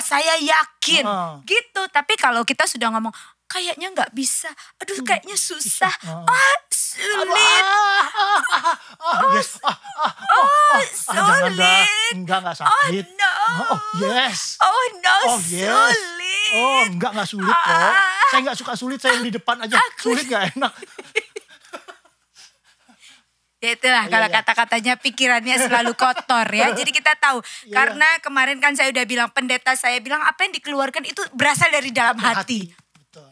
Speaker 1: Saya- Ah.
Speaker 2: ah saya yakin,
Speaker 1: Heeh.
Speaker 2: gitu. Tapi kalau kita sudah ngomong, kayaknya nggak bisa, aduh
Speaker 1: Hmm,
Speaker 2: kayaknya susah,
Speaker 1: Heeh.
Speaker 2: ah
Speaker 1: Aduh,
Speaker 2: sulit,
Speaker 1: ah, ah, ah, ah, yes, ah, ah,
Speaker 2: oh,
Speaker 1: ah, jangan dah.
Speaker 2: sulit,
Speaker 1: Enggak, enggak
Speaker 2: oh
Speaker 1: sakit.
Speaker 2: no,
Speaker 1: Oh, yes.
Speaker 2: oh no,
Speaker 1: Oh yes.
Speaker 2: sulit,
Speaker 1: Oh enggak enggak sulit kok.
Speaker 2: Ah.
Speaker 1: Saya enggak suka sulit, saya yang di depan aja.
Speaker 2: Aku-
Speaker 1: Sulit enggak enak.
Speaker 2: Ya itulah
Speaker 1: Iya,
Speaker 2: kalau
Speaker 1: iya.
Speaker 2: kata-katanya pikirannya selalu kotor ya. Jadi kita tahu
Speaker 1: Iya.
Speaker 2: karena kemarin kan saya udah bilang pendeta saya bilang apa yang dikeluarkan itu berasal dari dalam hati.
Speaker 1: Betul.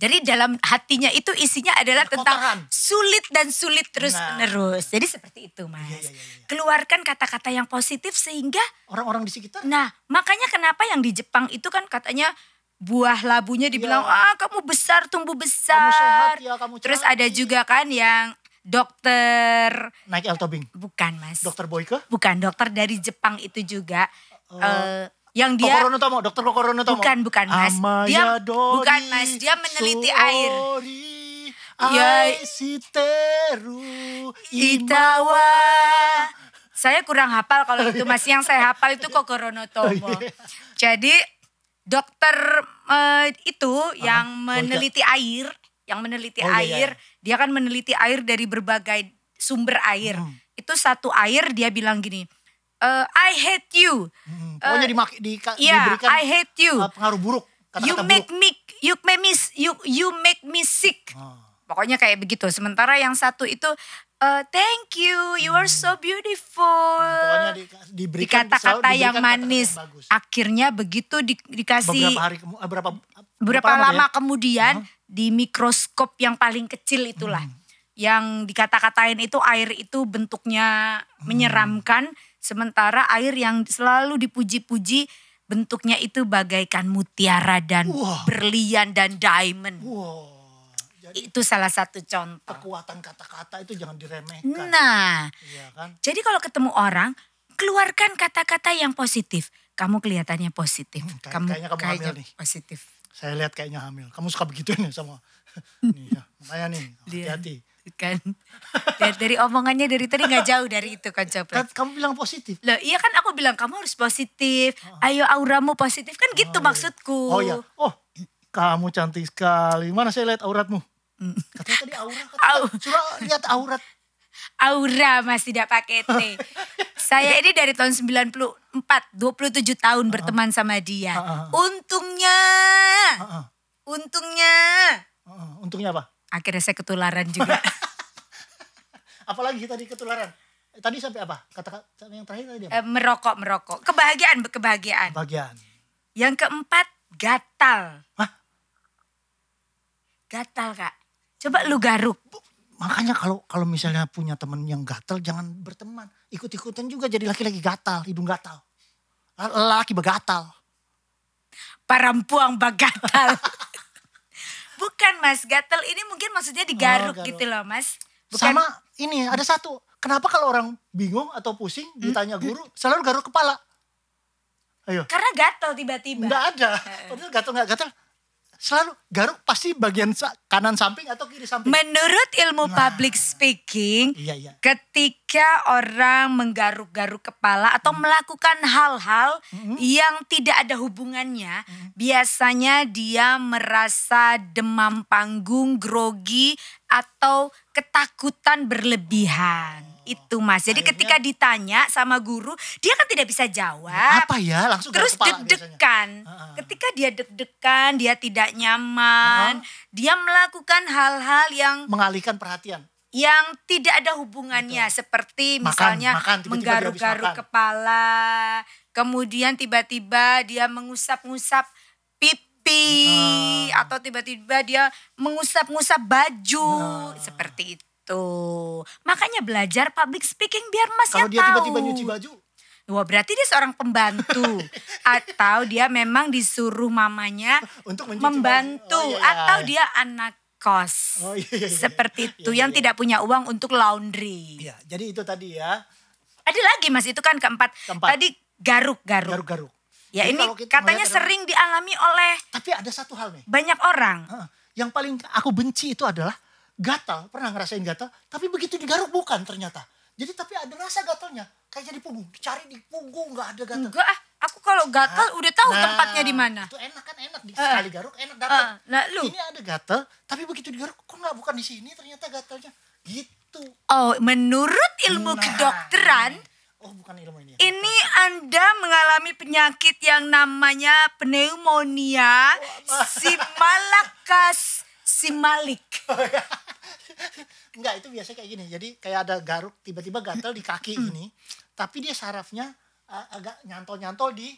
Speaker 2: Jadi dalam hatinya itu isinya adalah tentang
Speaker 1: Kotoran.
Speaker 2: sulit dan sulit terus
Speaker 1: Nah.
Speaker 2: menerus. Jadi seperti itu Mas.
Speaker 1: Iya, iya, iya, iya.
Speaker 2: Keluarkan kata-kata yang positif sehingga
Speaker 1: Orang-orang di sekitar
Speaker 2: nah makanya kenapa yang di Jepang itu kan katanya buah labunya dibilang ah kamu besar tumbuh besar.
Speaker 1: Iya. kamu sehat ya, kamu
Speaker 2: Terus
Speaker 1: cantik.
Speaker 2: ada juga kan yang dokter
Speaker 1: naik El Tobing.
Speaker 2: Bukan mas,
Speaker 1: Dokter Boyke?
Speaker 2: bukan dokter dari Jepang itu juga
Speaker 1: Oh.
Speaker 2: eh, yang dia
Speaker 1: Kokorono Tomo, dokter Kokorono Tomo.
Speaker 2: Bukan, bukan, Mas.
Speaker 1: Amaya
Speaker 2: Dia-
Speaker 1: Dori,
Speaker 2: bukan, Mas. Dia meneliti air.
Speaker 1: Sori,
Speaker 2: Ya.
Speaker 1: Aisiteru, Ima-
Speaker 2: Itawa. Saya kurang hafal kalau itu mas, yang saya hafal
Speaker 1: Oh,
Speaker 2: itu
Speaker 1: iya.
Speaker 2: Kokorono Tomo. Jadi dokter eh, itu yang meneliti air, yang meneliti
Speaker 1: Oh, iya, iya.
Speaker 2: air, dia kan
Speaker 1: Hmm.
Speaker 2: meneliti air dari berbagai sumber air. Itu satu air dia bilang gini, eh, I hate you.
Speaker 1: Hmm. Pokoknya
Speaker 2: Eh,
Speaker 1: dimaki- dika-
Speaker 2: Yeah,
Speaker 1: diberikan
Speaker 2: I hate you.
Speaker 1: uh, pengaruh buruk.
Speaker 2: you
Speaker 1: Kata-kata
Speaker 2: make
Speaker 1: buruk.
Speaker 2: me you make me you you make me sick.
Speaker 1: Ah.
Speaker 2: Pokoknya kayak begitu. Sementara yang satu itu eh, thank you, you are so beautiful.
Speaker 1: Hmm. Pokoknya di, diberikan
Speaker 2: Dikata
Speaker 1: selalu
Speaker 2: kata
Speaker 1: diberikan
Speaker 2: yang
Speaker 1: kata-kata
Speaker 2: manis.
Speaker 1: yang bagus.
Speaker 2: Akhirnya begitu di- dikasih
Speaker 1: Beberapa hari kemu- eh, berapa
Speaker 2: Berapa lama
Speaker 1: ya?
Speaker 2: kemudian di mikroskop yang paling kecil itulah.
Speaker 1: Hmm.
Speaker 2: Yang dikata-katain itu air itu
Speaker 1: Hmm.
Speaker 2: bentuknya menyeramkan. Sementara air yang selalu dipuji-puji bentuknya itu bagaikan mutiara dan
Speaker 1: Wah.
Speaker 2: berlian dan diamond.
Speaker 1: Wow. Jadi
Speaker 2: Itu salah satu contoh.
Speaker 1: kekuatan kata-kata itu jangan diremehkan.
Speaker 2: Nah,
Speaker 1: Iya kan?
Speaker 2: jadi kalau ketemu orang, keluarkan kata-kata yang positif. Kamu kelihatannya positif.
Speaker 1: Hmm, kayak-
Speaker 2: kamu
Speaker 1: kayaknya kamu hamil
Speaker 2: kayaknya
Speaker 1: nih.
Speaker 2: positif.
Speaker 1: Saya lihat kayaknya hamil. Kamu suka begituin ya sama. nih, ya. Makanya nih,
Speaker 2: Dia-
Speaker 1: hati-hati.
Speaker 2: Kan. Dari, dari omongannya dari tadi nggak jauh dari itu kan Coplek.
Speaker 1: Kan Kamu bilang positif.
Speaker 2: Loh, iya kan aku bilang kamu harus positif. Ayo auramu positif kan gitu maksudku.
Speaker 1: Oh iya. Oh, kamu cantik sekali. Mana saya lihat auratmu? Katanya tadi aura. Katanya,
Speaker 2: Hmm. Au.
Speaker 1: suruh lihat aurat.
Speaker 2: Aura Mas tidak pakai T. Saya ini dari tahun 94, 27
Speaker 1: Oh.
Speaker 2: tahun berteman sama
Speaker 1: Ah,
Speaker 2: dia.
Speaker 1: ah,
Speaker 2: Untungnya,
Speaker 1: Heeh.
Speaker 2: untungnya
Speaker 1: heeh. Untungnya apa?
Speaker 2: akhirnya saya ketularan juga.
Speaker 1: Apalagi tadi ketularan. Eh, Tadi sampai apa? Kata kata yang terakhir tadi apa?
Speaker 2: Eh, merokok, merokok. Kebahagiaan, kebahagiaan.
Speaker 1: Bagian.
Speaker 2: Yang keempat, gatal.
Speaker 1: Hah?
Speaker 2: Gatal, Kak. Coba lu garuk.
Speaker 1: Makanya kalau kalau misalnya punya temen yang gatal jangan berteman. Ikut-ikutan juga jadi laki-laki gatal, hidung gatal. Laki begatal.
Speaker 2: Parampuang bagatal. Bukan, Mas. Gatal ini mungkin maksudnya digaruk
Speaker 1: Oh, garuk.
Speaker 2: gitu loh, Mas. Bukan
Speaker 1: Sama ini ada satu. Kenapa kalau orang bingung atau pusing
Speaker 2: Hmm.
Speaker 1: ditanya guru selalu garuk kepala? Ayo.
Speaker 2: karena gatal tiba-tiba.
Speaker 1: Enggak ada.
Speaker 2: Eh.
Speaker 1: Padahal gatal nggak gatal. Selalu garuk pasti bagian sa- kanan samping atau kiri samping.
Speaker 2: Menurut
Speaker 1: Nah.
Speaker 2: ilmu public speaking,
Speaker 1: Iya iya.
Speaker 2: ketika orang menggaruk-garuk kepala atau
Speaker 1: Hmm.
Speaker 2: melakukan hal-hal yang tidak ada hubungannya,
Speaker 1: Hmm.
Speaker 2: biasanya dia merasa demam panggung, grogi atau ketakutan berlebihan. Itu Mas. Jadi
Speaker 1: Oh. Akhirnya-
Speaker 2: ketika ditanya sama guru, dia kan tidak bisa jawab.
Speaker 1: Apa ya? Langsung garuk
Speaker 2: Terus
Speaker 1: kepala biasanya. Ah,
Speaker 2: deg-degan.
Speaker 1: Heeh.
Speaker 2: Ketika dia deg-degan, dia tidak
Speaker 1: Ah,
Speaker 2: nyaman, dia melakukan hal-hal yang
Speaker 1: Mengalihkan perhatian.
Speaker 2: yang tidak ada hubungannya seperti
Speaker 1: Makan,
Speaker 2: misalnya
Speaker 1: makan, tiba-tiba dia habis
Speaker 2: menggaruk-garuk
Speaker 1: makan.
Speaker 2: kepala, kemudian tiba-tiba dia mengusap-ngusap pipi
Speaker 1: Ah.
Speaker 2: atau tiba-tiba dia mengusap-ngusap baju
Speaker 1: Ah.
Speaker 2: seperti itu. Makanya belajar public speaking biar masnya
Speaker 1: Kalau dia
Speaker 2: tahu.
Speaker 1: tiba-tiba nyuci baju,
Speaker 2: Wah berarti dia seorang pembantu atau dia memang disuruh mamanya
Speaker 1: Untuk mencuci
Speaker 2: membantu
Speaker 1: baju. Oh, iya, iya,
Speaker 2: atau
Speaker 1: iya.
Speaker 2: dia anak kos
Speaker 1: Oh, iya, iya, iya.
Speaker 2: seperti
Speaker 1: Iya,
Speaker 2: itu
Speaker 1: iya,
Speaker 2: yang
Speaker 1: iya.
Speaker 2: tidak punya uang untuk laundry.
Speaker 1: Iya, jadi itu tadi ya
Speaker 2: Ada lagi mas itu kan keempat,
Speaker 1: Keempat.
Speaker 2: tadi garuk-garuk.
Speaker 1: garuk-garuk.
Speaker 2: Ya
Speaker 1: Jadi
Speaker 2: ini
Speaker 1: kalau kita
Speaker 2: katanya
Speaker 1: melihat ada-
Speaker 2: sering dialami oleh
Speaker 1: Tapi ada satu hal nih,
Speaker 2: banyak orang.
Speaker 1: Heeh. yang paling aku benci itu adalah gatal. Pernah ngerasain gatal, tapi begitu digaruk bukan ternyata. Jadi tapi ada rasa gatalnya, kayak jadi punggung. Cari di punggung nggak ada gatal.
Speaker 2: Enggak ah, aku kalau gatal udah tahu
Speaker 1: iya. Nah,
Speaker 2: tempatnya di mana.
Speaker 1: Itu enak kan enak di sekali garuk enak dapat.
Speaker 2: Eh, nah, lu.
Speaker 1: Ini ada gatal, tapi begitu digaruk kok nggak bukan di sini ternyata gatalnya. Gitu.
Speaker 2: Oh menurut ilmu
Speaker 1: Nah.
Speaker 2: kedokteran
Speaker 1: Oh, bukan ilmu ini. ya.
Speaker 2: Ini Anda mengalami penyakit yang namanya
Speaker 1: Oh,
Speaker 2: pneumonia simalakas simalik.
Speaker 1: Enggak, itu biasanya kayak gini. Jadi kayak ada garuk tiba-tiba gatal di kaki
Speaker 2: Hmm.
Speaker 1: gini, tapi dia sarafnya uh, agak nyantol-nyantol di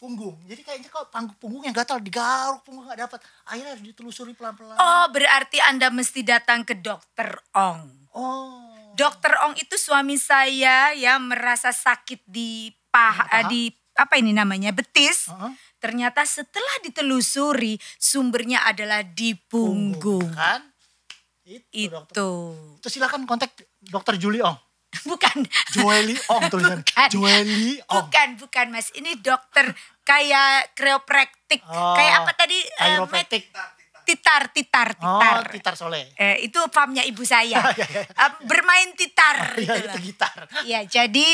Speaker 1: punggung. Jadi kayaknya kalau panggung punggungnya gatal digaruk punggung nggak dapat. Akhirnya harus ditelusuri pelan-pelan.
Speaker 2: Oh, berarti Anda mesti datang ke dokter Ong.
Speaker 1: Oh.
Speaker 2: Dokter Ong itu suami saya ya merasa sakit di paha
Speaker 1: Paha?
Speaker 2: eh, di apa ini namanya? betis.
Speaker 1: Heeh.
Speaker 2: Ternyata setelah ditelusuri sumbernya adalah di punggung.
Speaker 1: Kan? Itu, dokter.
Speaker 2: Itu.
Speaker 1: Terus silakan kontak dokter Juli Ong.
Speaker 2: Bukan
Speaker 1: Joeli Ong tulisannya.
Speaker 2: Bukan.
Speaker 1: Joeli Ong.
Speaker 2: Bukan, bukan mas. Ini dokter kayak kreopraktik.
Speaker 1: Oh,
Speaker 2: kayak apa tadi? Eh,
Speaker 1: Chiropractic.
Speaker 2: med- titar, titar, titar.
Speaker 1: Oh, titar soleh.
Speaker 2: Eh, itu famnya ibu saya. Eh, bermain titar. gitu
Speaker 1: Iya,
Speaker 2: loh.
Speaker 1: itu gitar.
Speaker 2: Ya, jadi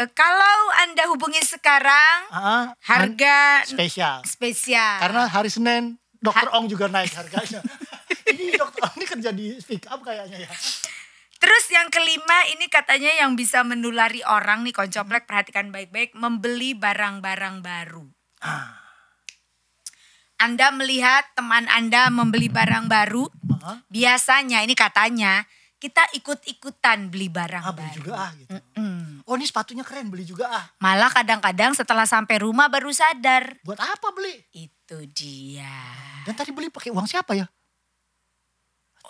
Speaker 2: eh, kalau Anda hubungi sekarang,
Speaker 1: Ah,
Speaker 2: harga
Speaker 1: spesial.
Speaker 2: spesial.
Speaker 1: Karena hari Senin Dokter Ong juga naik harganya. ini Dokter Ong ini kerja di speak up kayaknya ya.
Speaker 2: Terus yang kelima ini katanya yang bisa menulari orang nih koncoplek perhatikan baik-baik membeli barang-barang baru.
Speaker 1: Ah.
Speaker 2: Anda melihat teman Anda membeli barang baru,
Speaker 1: Ah,
Speaker 2: biasanya ini katanya kita ikut-ikutan beli barang
Speaker 1: ah, beli
Speaker 2: baru.
Speaker 1: juga ah gitu.
Speaker 2: Mm.
Speaker 1: Oh ini sepatunya keren beli juga ah.
Speaker 2: Malah kadang-kadang setelah sampai rumah baru sadar
Speaker 1: Buat apa beli?
Speaker 2: itu dia.
Speaker 1: Dan tadi beli pakai uang siapa ya?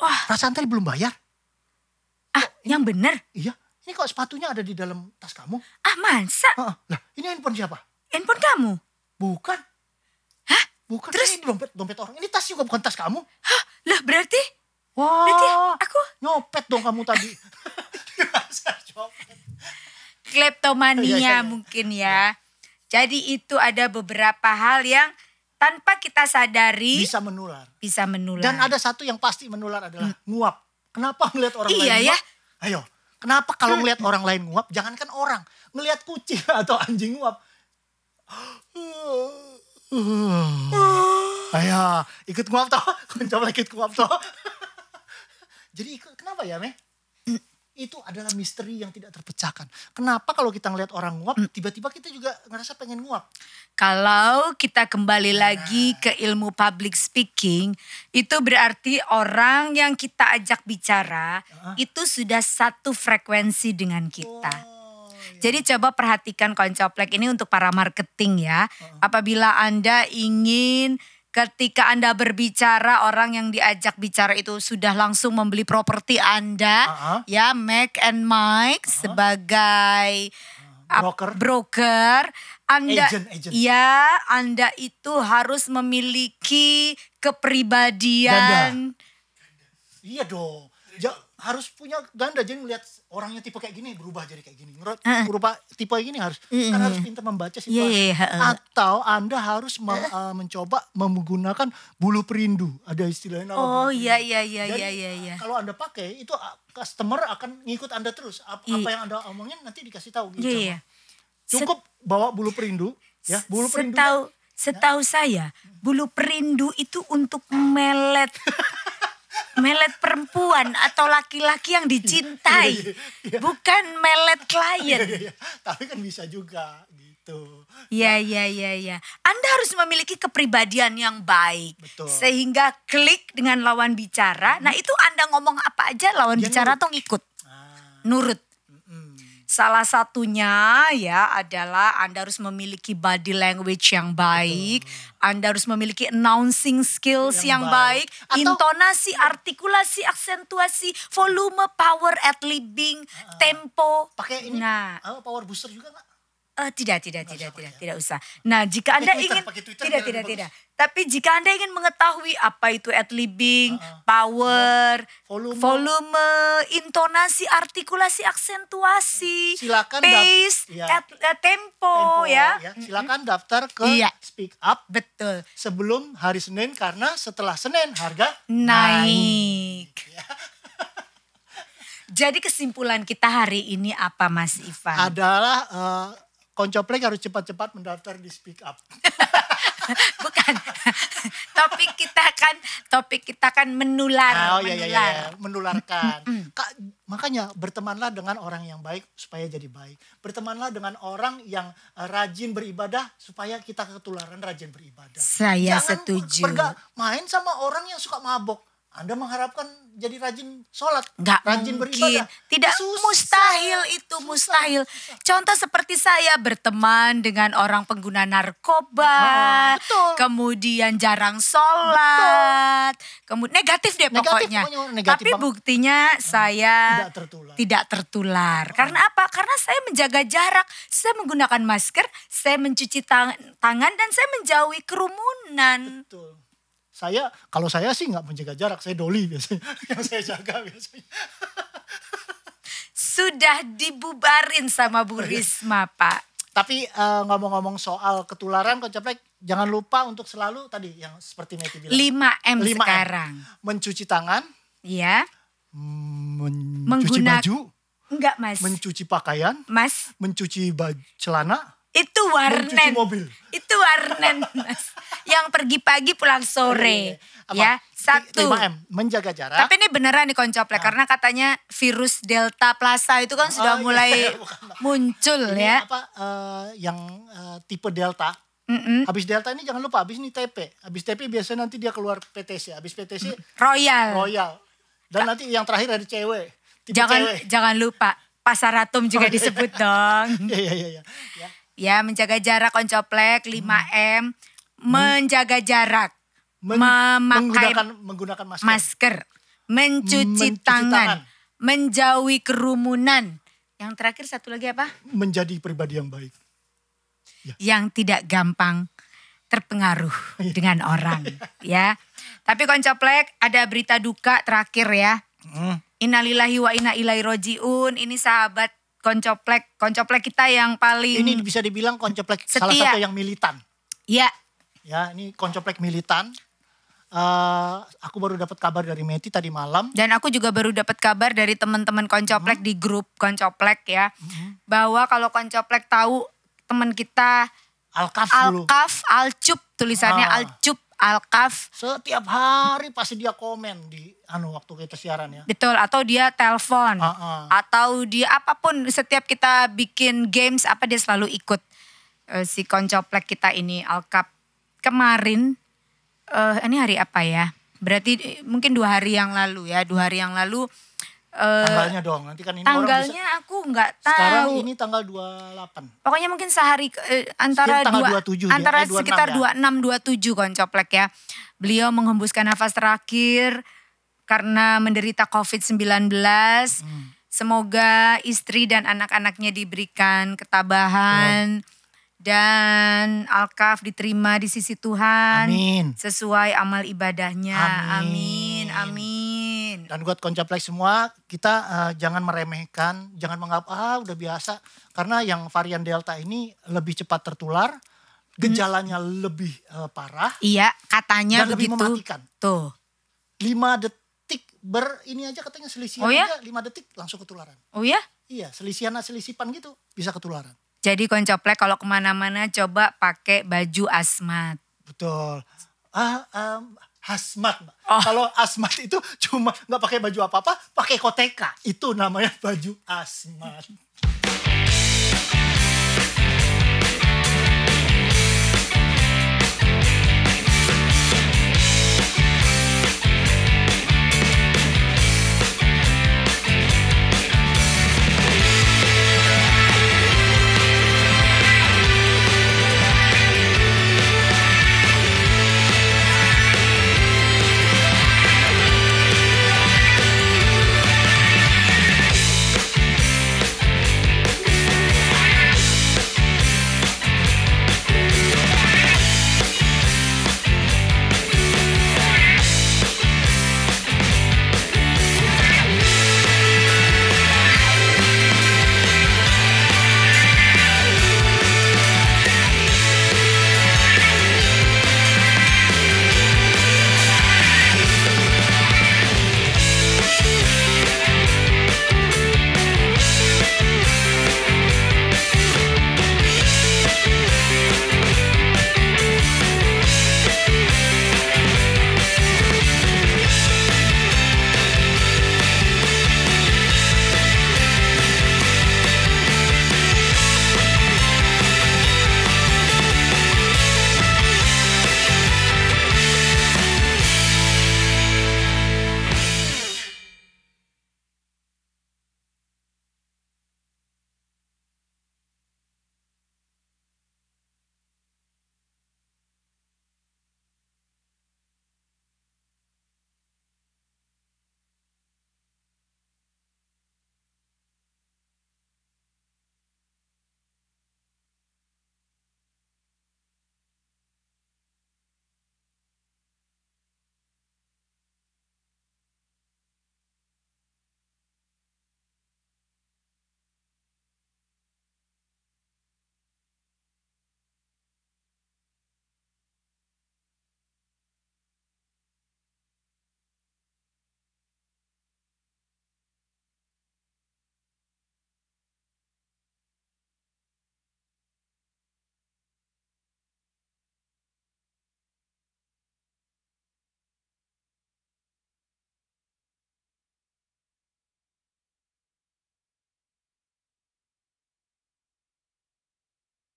Speaker 2: Wah.
Speaker 1: Perasaan tadi belum bayar.
Speaker 2: Ah, yang bener.
Speaker 1: Iya. Ini kok sepatunya ada di dalam tas kamu?
Speaker 2: Ah, masa?
Speaker 1: Heeh. Lah, ini handphone siapa?
Speaker 2: Handphone kamu?
Speaker 1: Bukan.
Speaker 2: Hah?
Speaker 1: Bukan.
Speaker 2: Terus?
Speaker 1: Ini dompet dompet orang. Ini tas juga bukan tas kamu.
Speaker 2: Hah, lah berarti? Berarti
Speaker 1: Wah.
Speaker 2: aku
Speaker 1: Nyopet dong kamu tadi. Dirasa nyopet. Iya, iya,
Speaker 2: kleptomania
Speaker 1: iya.
Speaker 2: mungkin ya. Jadi itu ada beberapa hal yang tanpa kita sadari bisa,
Speaker 1: Bisa menular.
Speaker 2: menular.
Speaker 1: Dan ada satu yang pasti menular adalah nguap. Kenapa ngelihat orang
Speaker 2: Hmm. Iya
Speaker 1: lain
Speaker 2: ya. Hmm.
Speaker 1: nguap? Ayo, kenapa kalau ngelihat orang lain nguap, jangankan orang, ngelihat kucing atau anjing nguap.
Speaker 2: Ah.
Speaker 1: Ayo, ikut nguap toh, coba ikut nguap toh. Jadi ikut, kenapa ya, Meh?
Speaker 2: Hmm.
Speaker 1: Itu adalah misteri yang tidak terpecahkan. Kenapa kalau kita ngelihat orang nguap,
Speaker 2: Hmm.
Speaker 1: tiba-tiba kita juga ngerasa pengen nguap?
Speaker 2: Kalau kita kembali
Speaker 1: Iya.
Speaker 2: lagi ke ilmu public speaking, itu berarti orang yang kita ajak bicara itu sudah satu frekuensi dengan kita.
Speaker 1: Oh, iya.
Speaker 2: Jadi coba perhatikan koncoplek ini untuk para marketing ya.
Speaker 1: Oh.
Speaker 2: Apabila Anda ingin ketika Anda berbicara orang yang diajak bicara itu sudah langsung membeli properti Anda
Speaker 1: Uh-uh.
Speaker 2: ya Mac and Mike sebagai ap-
Speaker 1: Uh-huh. Broker.
Speaker 2: broker. Anda
Speaker 1: Agent, agent.
Speaker 2: ya Anda itu harus memiliki kepribadian
Speaker 1: Iya dong. Ja- harus punya ganda jadi ngeliat orangnya tipe kayak gini berubah jadi kayak gini. Ngerut berubah tipe kayak gini harus kan harus pintar membaca situasi.
Speaker 2: Iya, iya, heeh.
Speaker 1: Atau Anda harus me- eh, mencoba menggunakan bulu perindu. Ada istilahnya nama
Speaker 2: Oh
Speaker 1: bulu perindu.
Speaker 2: iya iya iya
Speaker 1: Jadi, uh,
Speaker 2: iya iya iya.
Speaker 1: Kalau Anda pakai itu ah, customer akan ngikut Anda terus. Apa,
Speaker 2: Iya.
Speaker 1: apa yang Anda omongin nanti dikasih tahu gitu.
Speaker 2: Iya iya.
Speaker 1: Cukup bawa bulu perindu ya, bulu perindu. Ya.
Speaker 2: Setahu setahu saya bulu perindu itu untuk melet melet perempuan atau laki-laki yang dicintai, bukan melet klien.
Speaker 1: Iya, Tapi kan bisa juga gitu.
Speaker 2: Ya ya ya ya. Anda harus memiliki kepribadian yang baik,
Speaker 1: Betul. Hmm.
Speaker 2: sehingga klik dengan lawan bicara. Nah itu Anda ngomong apa aja lawan
Speaker 1: Dia
Speaker 2: bicara tuh ngikut,
Speaker 1: Ah,
Speaker 2: nurut.
Speaker 1: mm-mm.
Speaker 2: Salah satunya ya adalah Anda harus memiliki body language yang baik, Anda harus memiliki announcing skills yang,
Speaker 1: Yang
Speaker 2: baik,
Speaker 1: baik. Atau-
Speaker 2: intonasi, artikulasi, aksentuasi, volume, power at leading, tempo.
Speaker 1: pakai ini
Speaker 2: Nah,
Speaker 1: apa, power booster juga nggak?
Speaker 2: eh, tidak tidak
Speaker 1: usah
Speaker 2: tidak tidak
Speaker 1: pakai.
Speaker 2: tidak usah. Nah, jika Anda
Speaker 1: Twitter,
Speaker 2: ingin
Speaker 1: pakai Twitter
Speaker 2: tidak
Speaker 1: biar
Speaker 2: tidak
Speaker 1: lebih
Speaker 2: tidak. Tapi jika Anda ingin mengetahui apa itu at leading, power,
Speaker 1: Volume.
Speaker 2: volume, intonasi, artikulasi, aksentuasi,
Speaker 1: Silakan dap-
Speaker 2: pace,
Speaker 1: ya.
Speaker 2: at- eh, tempo,
Speaker 1: Tempo,
Speaker 2: ya.
Speaker 1: ya. Silakan daftar ke
Speaker 2: Iya.
Speaker 1: Speak Up
Speaker 2: Betul.
Speaker 1: sebelum hari Senin karena setelah Senin harga
Speaker 2: Naik.
Speaker 1: Iya.
Speaker 2: Jadi kesimpulan kita hari ini apa Mas Ivan?
Speaker 1: adalah eh, koncoplek harus cepat-cepat mendaftar di Speak Up.
Speaker 2: Bukan. topik kita kan topik kita kan menular,
Speaker 1: Oh, iya, iya, iya,
Speaker 2: menular.
Speaker 1: iya. menularkan. Ka- makanya bertemanlah dengan orang yang baik supaya jadi baik. Bertemanlah dengan orang yang eh, rajin beribadah supaya kita ketularan rajin beribadah.
Speaker 2: Saya
Speaker 1: Jangan
Speaker 2: Iya, setuju.
Speaker 1: berga- main sama orang yang suka mabok. Anda mengharapkan jadi rajin sholat,
Speaker 2: Nggak
Speaker 1: rajin
Speaker 2: mungkin.
Speaker 1: beribadah.
Speaker 2: Tidak
Speaker 1: Susah.
Speaker 2: mustahil itu,
Speaker 1: Susah.
Speaker 2: mustahil. Contoh seperti saya berteman dengan orang pengguna narkoba.
Speaker 1: Ah, betul.
Speaker 2: Kemudian jarang sholat. Kemudian negatif deh
Speaker 1: Negatif,
Speaker 2: pokoknya.
Speaker 1: pokoknya negatif
Speaker 2: Tapi
Speaker 1: banget.
Speaker 2: buktinya saya
Speaker 1: Tidak Ah. tertular.
Speaker 2: tidak tertular. Karena apa? Karena saya menjaga jarak. Saya menggunakan masker. Saya mencuci tang- tangan. Dan saya menjauhi kerumunan.
Speaker 1: Betul. Saya kalau saya sih nggak menjaga jarak, saya doli biasanya yang saya jaga biasanya.
Speaker 2: Sudah dibubarin sama
Speaker 1: Oh,
Speaker 2: Bu
Speaker 1: iya.
Speaker 2: Risma, Pak.
Speaker 1: Tapi eh, ngomong-ngomong soal ketularan koncaplek, jangan lupa untuk selalu tadi yang seperti Meti bilang.
Speaker 2: 5M
Speaker 1: 5M.
Speaker 2: sekarang.
Speaker 1: Mencuci tangan,
Speaker 2: Iya.
Speaker 1: mencuci
Speaker 2: Menggunak-
Speaker 1: baju,
Speaker 2: Enggak, Mas.
Speaker 1: mencuci pakaian,
Speaker 2: mas,
Speaker 1: mencuci baju celana,
Speaker 2: Itu warnen.
Speaker 1: Mencuci mobil.
Speaker 2: Itu warnen, Mas. Yang pergi pagi pulang sore.
Speaker 1: Iya, Apa?
Speaker 2: Ya, satu.
Speaker 1: 5M, menjaga jarak.
Speaker 2: Tapi ini beneran nih koncoplek karena katanya virus Delta Plaza itu kan
Speaker 1: Ah. Oh,
Speaker 2: sudah
Speaker 1: iya,
Speaker 2: mulai
Speaker 1: bukan.
Speaker 2: muncul
Speaker 1: ini
Speaker 2: ya.
Speaker 1: apa eh, yang eh, tipe delta.
Speaker 2: Mm-mm.
Speaker 1: Habis delta ini jangan lupa habis ini TP. Habis TP biasanya nanti dia keluar PTC. Habis PTC
Speaker 2: Royal.
Speaker 1: Royal. Dan nanti yang terakhir ada cewek. Tipe
Speaker 2: Jangan
Speaker 1: cewek. Oh,
Speaker 2: jangan lupa pasar Ratum juga disebut dong.
Speaker 1: Iya iya iya iya. Ya.
Speaker 2: Ya, menjaga jarak koncoplek
Speaker 1: Hmm.
Speaker 2: 5M, menjaga jarak,
Speaker 1: Men-
Speaker 2: memakai
Speaker 1: menggunakan menggunakan masker.
Speaker 2: masker, mencuci,
Speaker 1: Mencuci tangan.
Speaker 2: tangan, menjauhi kerumunan. Yang terakhir satu lagi apa?
Speaker 1: menjadi pribadi yang baik. Ya.
Speaker 2: Yang tidak gampang terpengaruh
Speaker 1: Iya.
Speaker 2: dengan orang, ya. Tapi koncoplek ada berita duka terakhir ya.
Speaker 1: Mm.
Speaker 2: Innalillahi wa inna ilaihi rojiun. Ini sahabat koncoplek, koncoplek kita yang paling
Speaker 1: Ini bisa dibilang koncoplek salah
Speaker 2: Iya. Setia.
Speaker 1: satu yang militan.
Speaker 2: ya
Speaker 1: Ya, ini koncoplek militan. Eh, aku baru dapat kabar dari Meti tadi malam.
Speaker 2: Dan aku juga baru dapat kabar dari teman-teman
Speaker 1: Hmm?
Speaker 2: koncoplek di grup koncoplek ya, bahwa kalau koncoplek tahu teman kita
Speaker 1: Alkaf dulu.
Speaker 2: Alkaf, Alcup tulisannya
Speaker 1: Ah.
Speaker 2: Alcup, Alkaf,
Speaker 1: Setiap hari pasti dia komen di anu waktu kita siaran ya.
Speaker 2: betul atau dia telepon
Speaker 1: Ah,
Speaker 2: atau dia apapun setiap kita bikin games apa dia selalu ikut Eh, si koncoplek kita ini Alkaf. Kemarin eh ini hari apa ya? Berarti eh, mungkin dua hari yang lalu ya, dua hari yang lalu eh
Speaker 1: Tanggalnya dong. Nanti kan ini orang bisa.
Speaker 2: Tanggalnya aku nggak
Speaker 1: Sekarang
Speaker 2: tahu.
Speaker 1: ini tanggal 28.
Speaker 2: Pokoknya mungkin sehari ke- eh, antara
Speaker 1: Sekitar tanggal
Speaker 2: dua,
Speaker 1: 27 dia,
Speaker 2: antara
Speaker 1: eh, 26
Speaker 2: sekitar
Speaker 1: ya.
Speaker 2: 26 27 koncoplek ya. Beliau menghembuskan nafas terakhir karena menderita COVID-19.
Speaker 1: Hmm.
Speaker 2: Hmm. Semoga istri dan anak-anaknya diberikan ketabahan dan Alkaf diterima di sisi Tuhan
Speaker 1: Amin.
Speaker 2: sesuai amal ibadahnya.
Speaker 1: Amin.
Speaker 2: Amin. Amin.
Speaker 1: Dan buat koncaplek semua, kita eh, jangan meremehkan, jangan menganggap ah udah biasa. Karena yang varian Delta ini lebih cepat tertular,
Speaker 2: Hmm.
Speaker 1: gejalanya lebih eh, parah,
Speaker 2: Iya, katanya
Speaker 1: dan lebih
Speaker 2: begitu.
Speaker 1: mematikan.
Speaker 2: Tuh.
Speaker 1: 5 detik ber ini aja katanya selisihan
Speaker 2: Oh ya?
Speaker 1: aja 5 detik langsung ketularan.
Speaker 2: Oh ya?
Speaker 1: Iya, selisihan selisipan gitu bisa ketularan.
Speaker 2: Jadi koncoplek kalau kemana-mana coba pakai baju asmat.
Speaker 1: Betul. Ah, em, hazmat, Mbak.
Speaker 2: Oh.
Speaker 1: Kalau asmat itu cuma nggak pakai baju apa-apa, pakai koteka. Itu namanya baju asmat.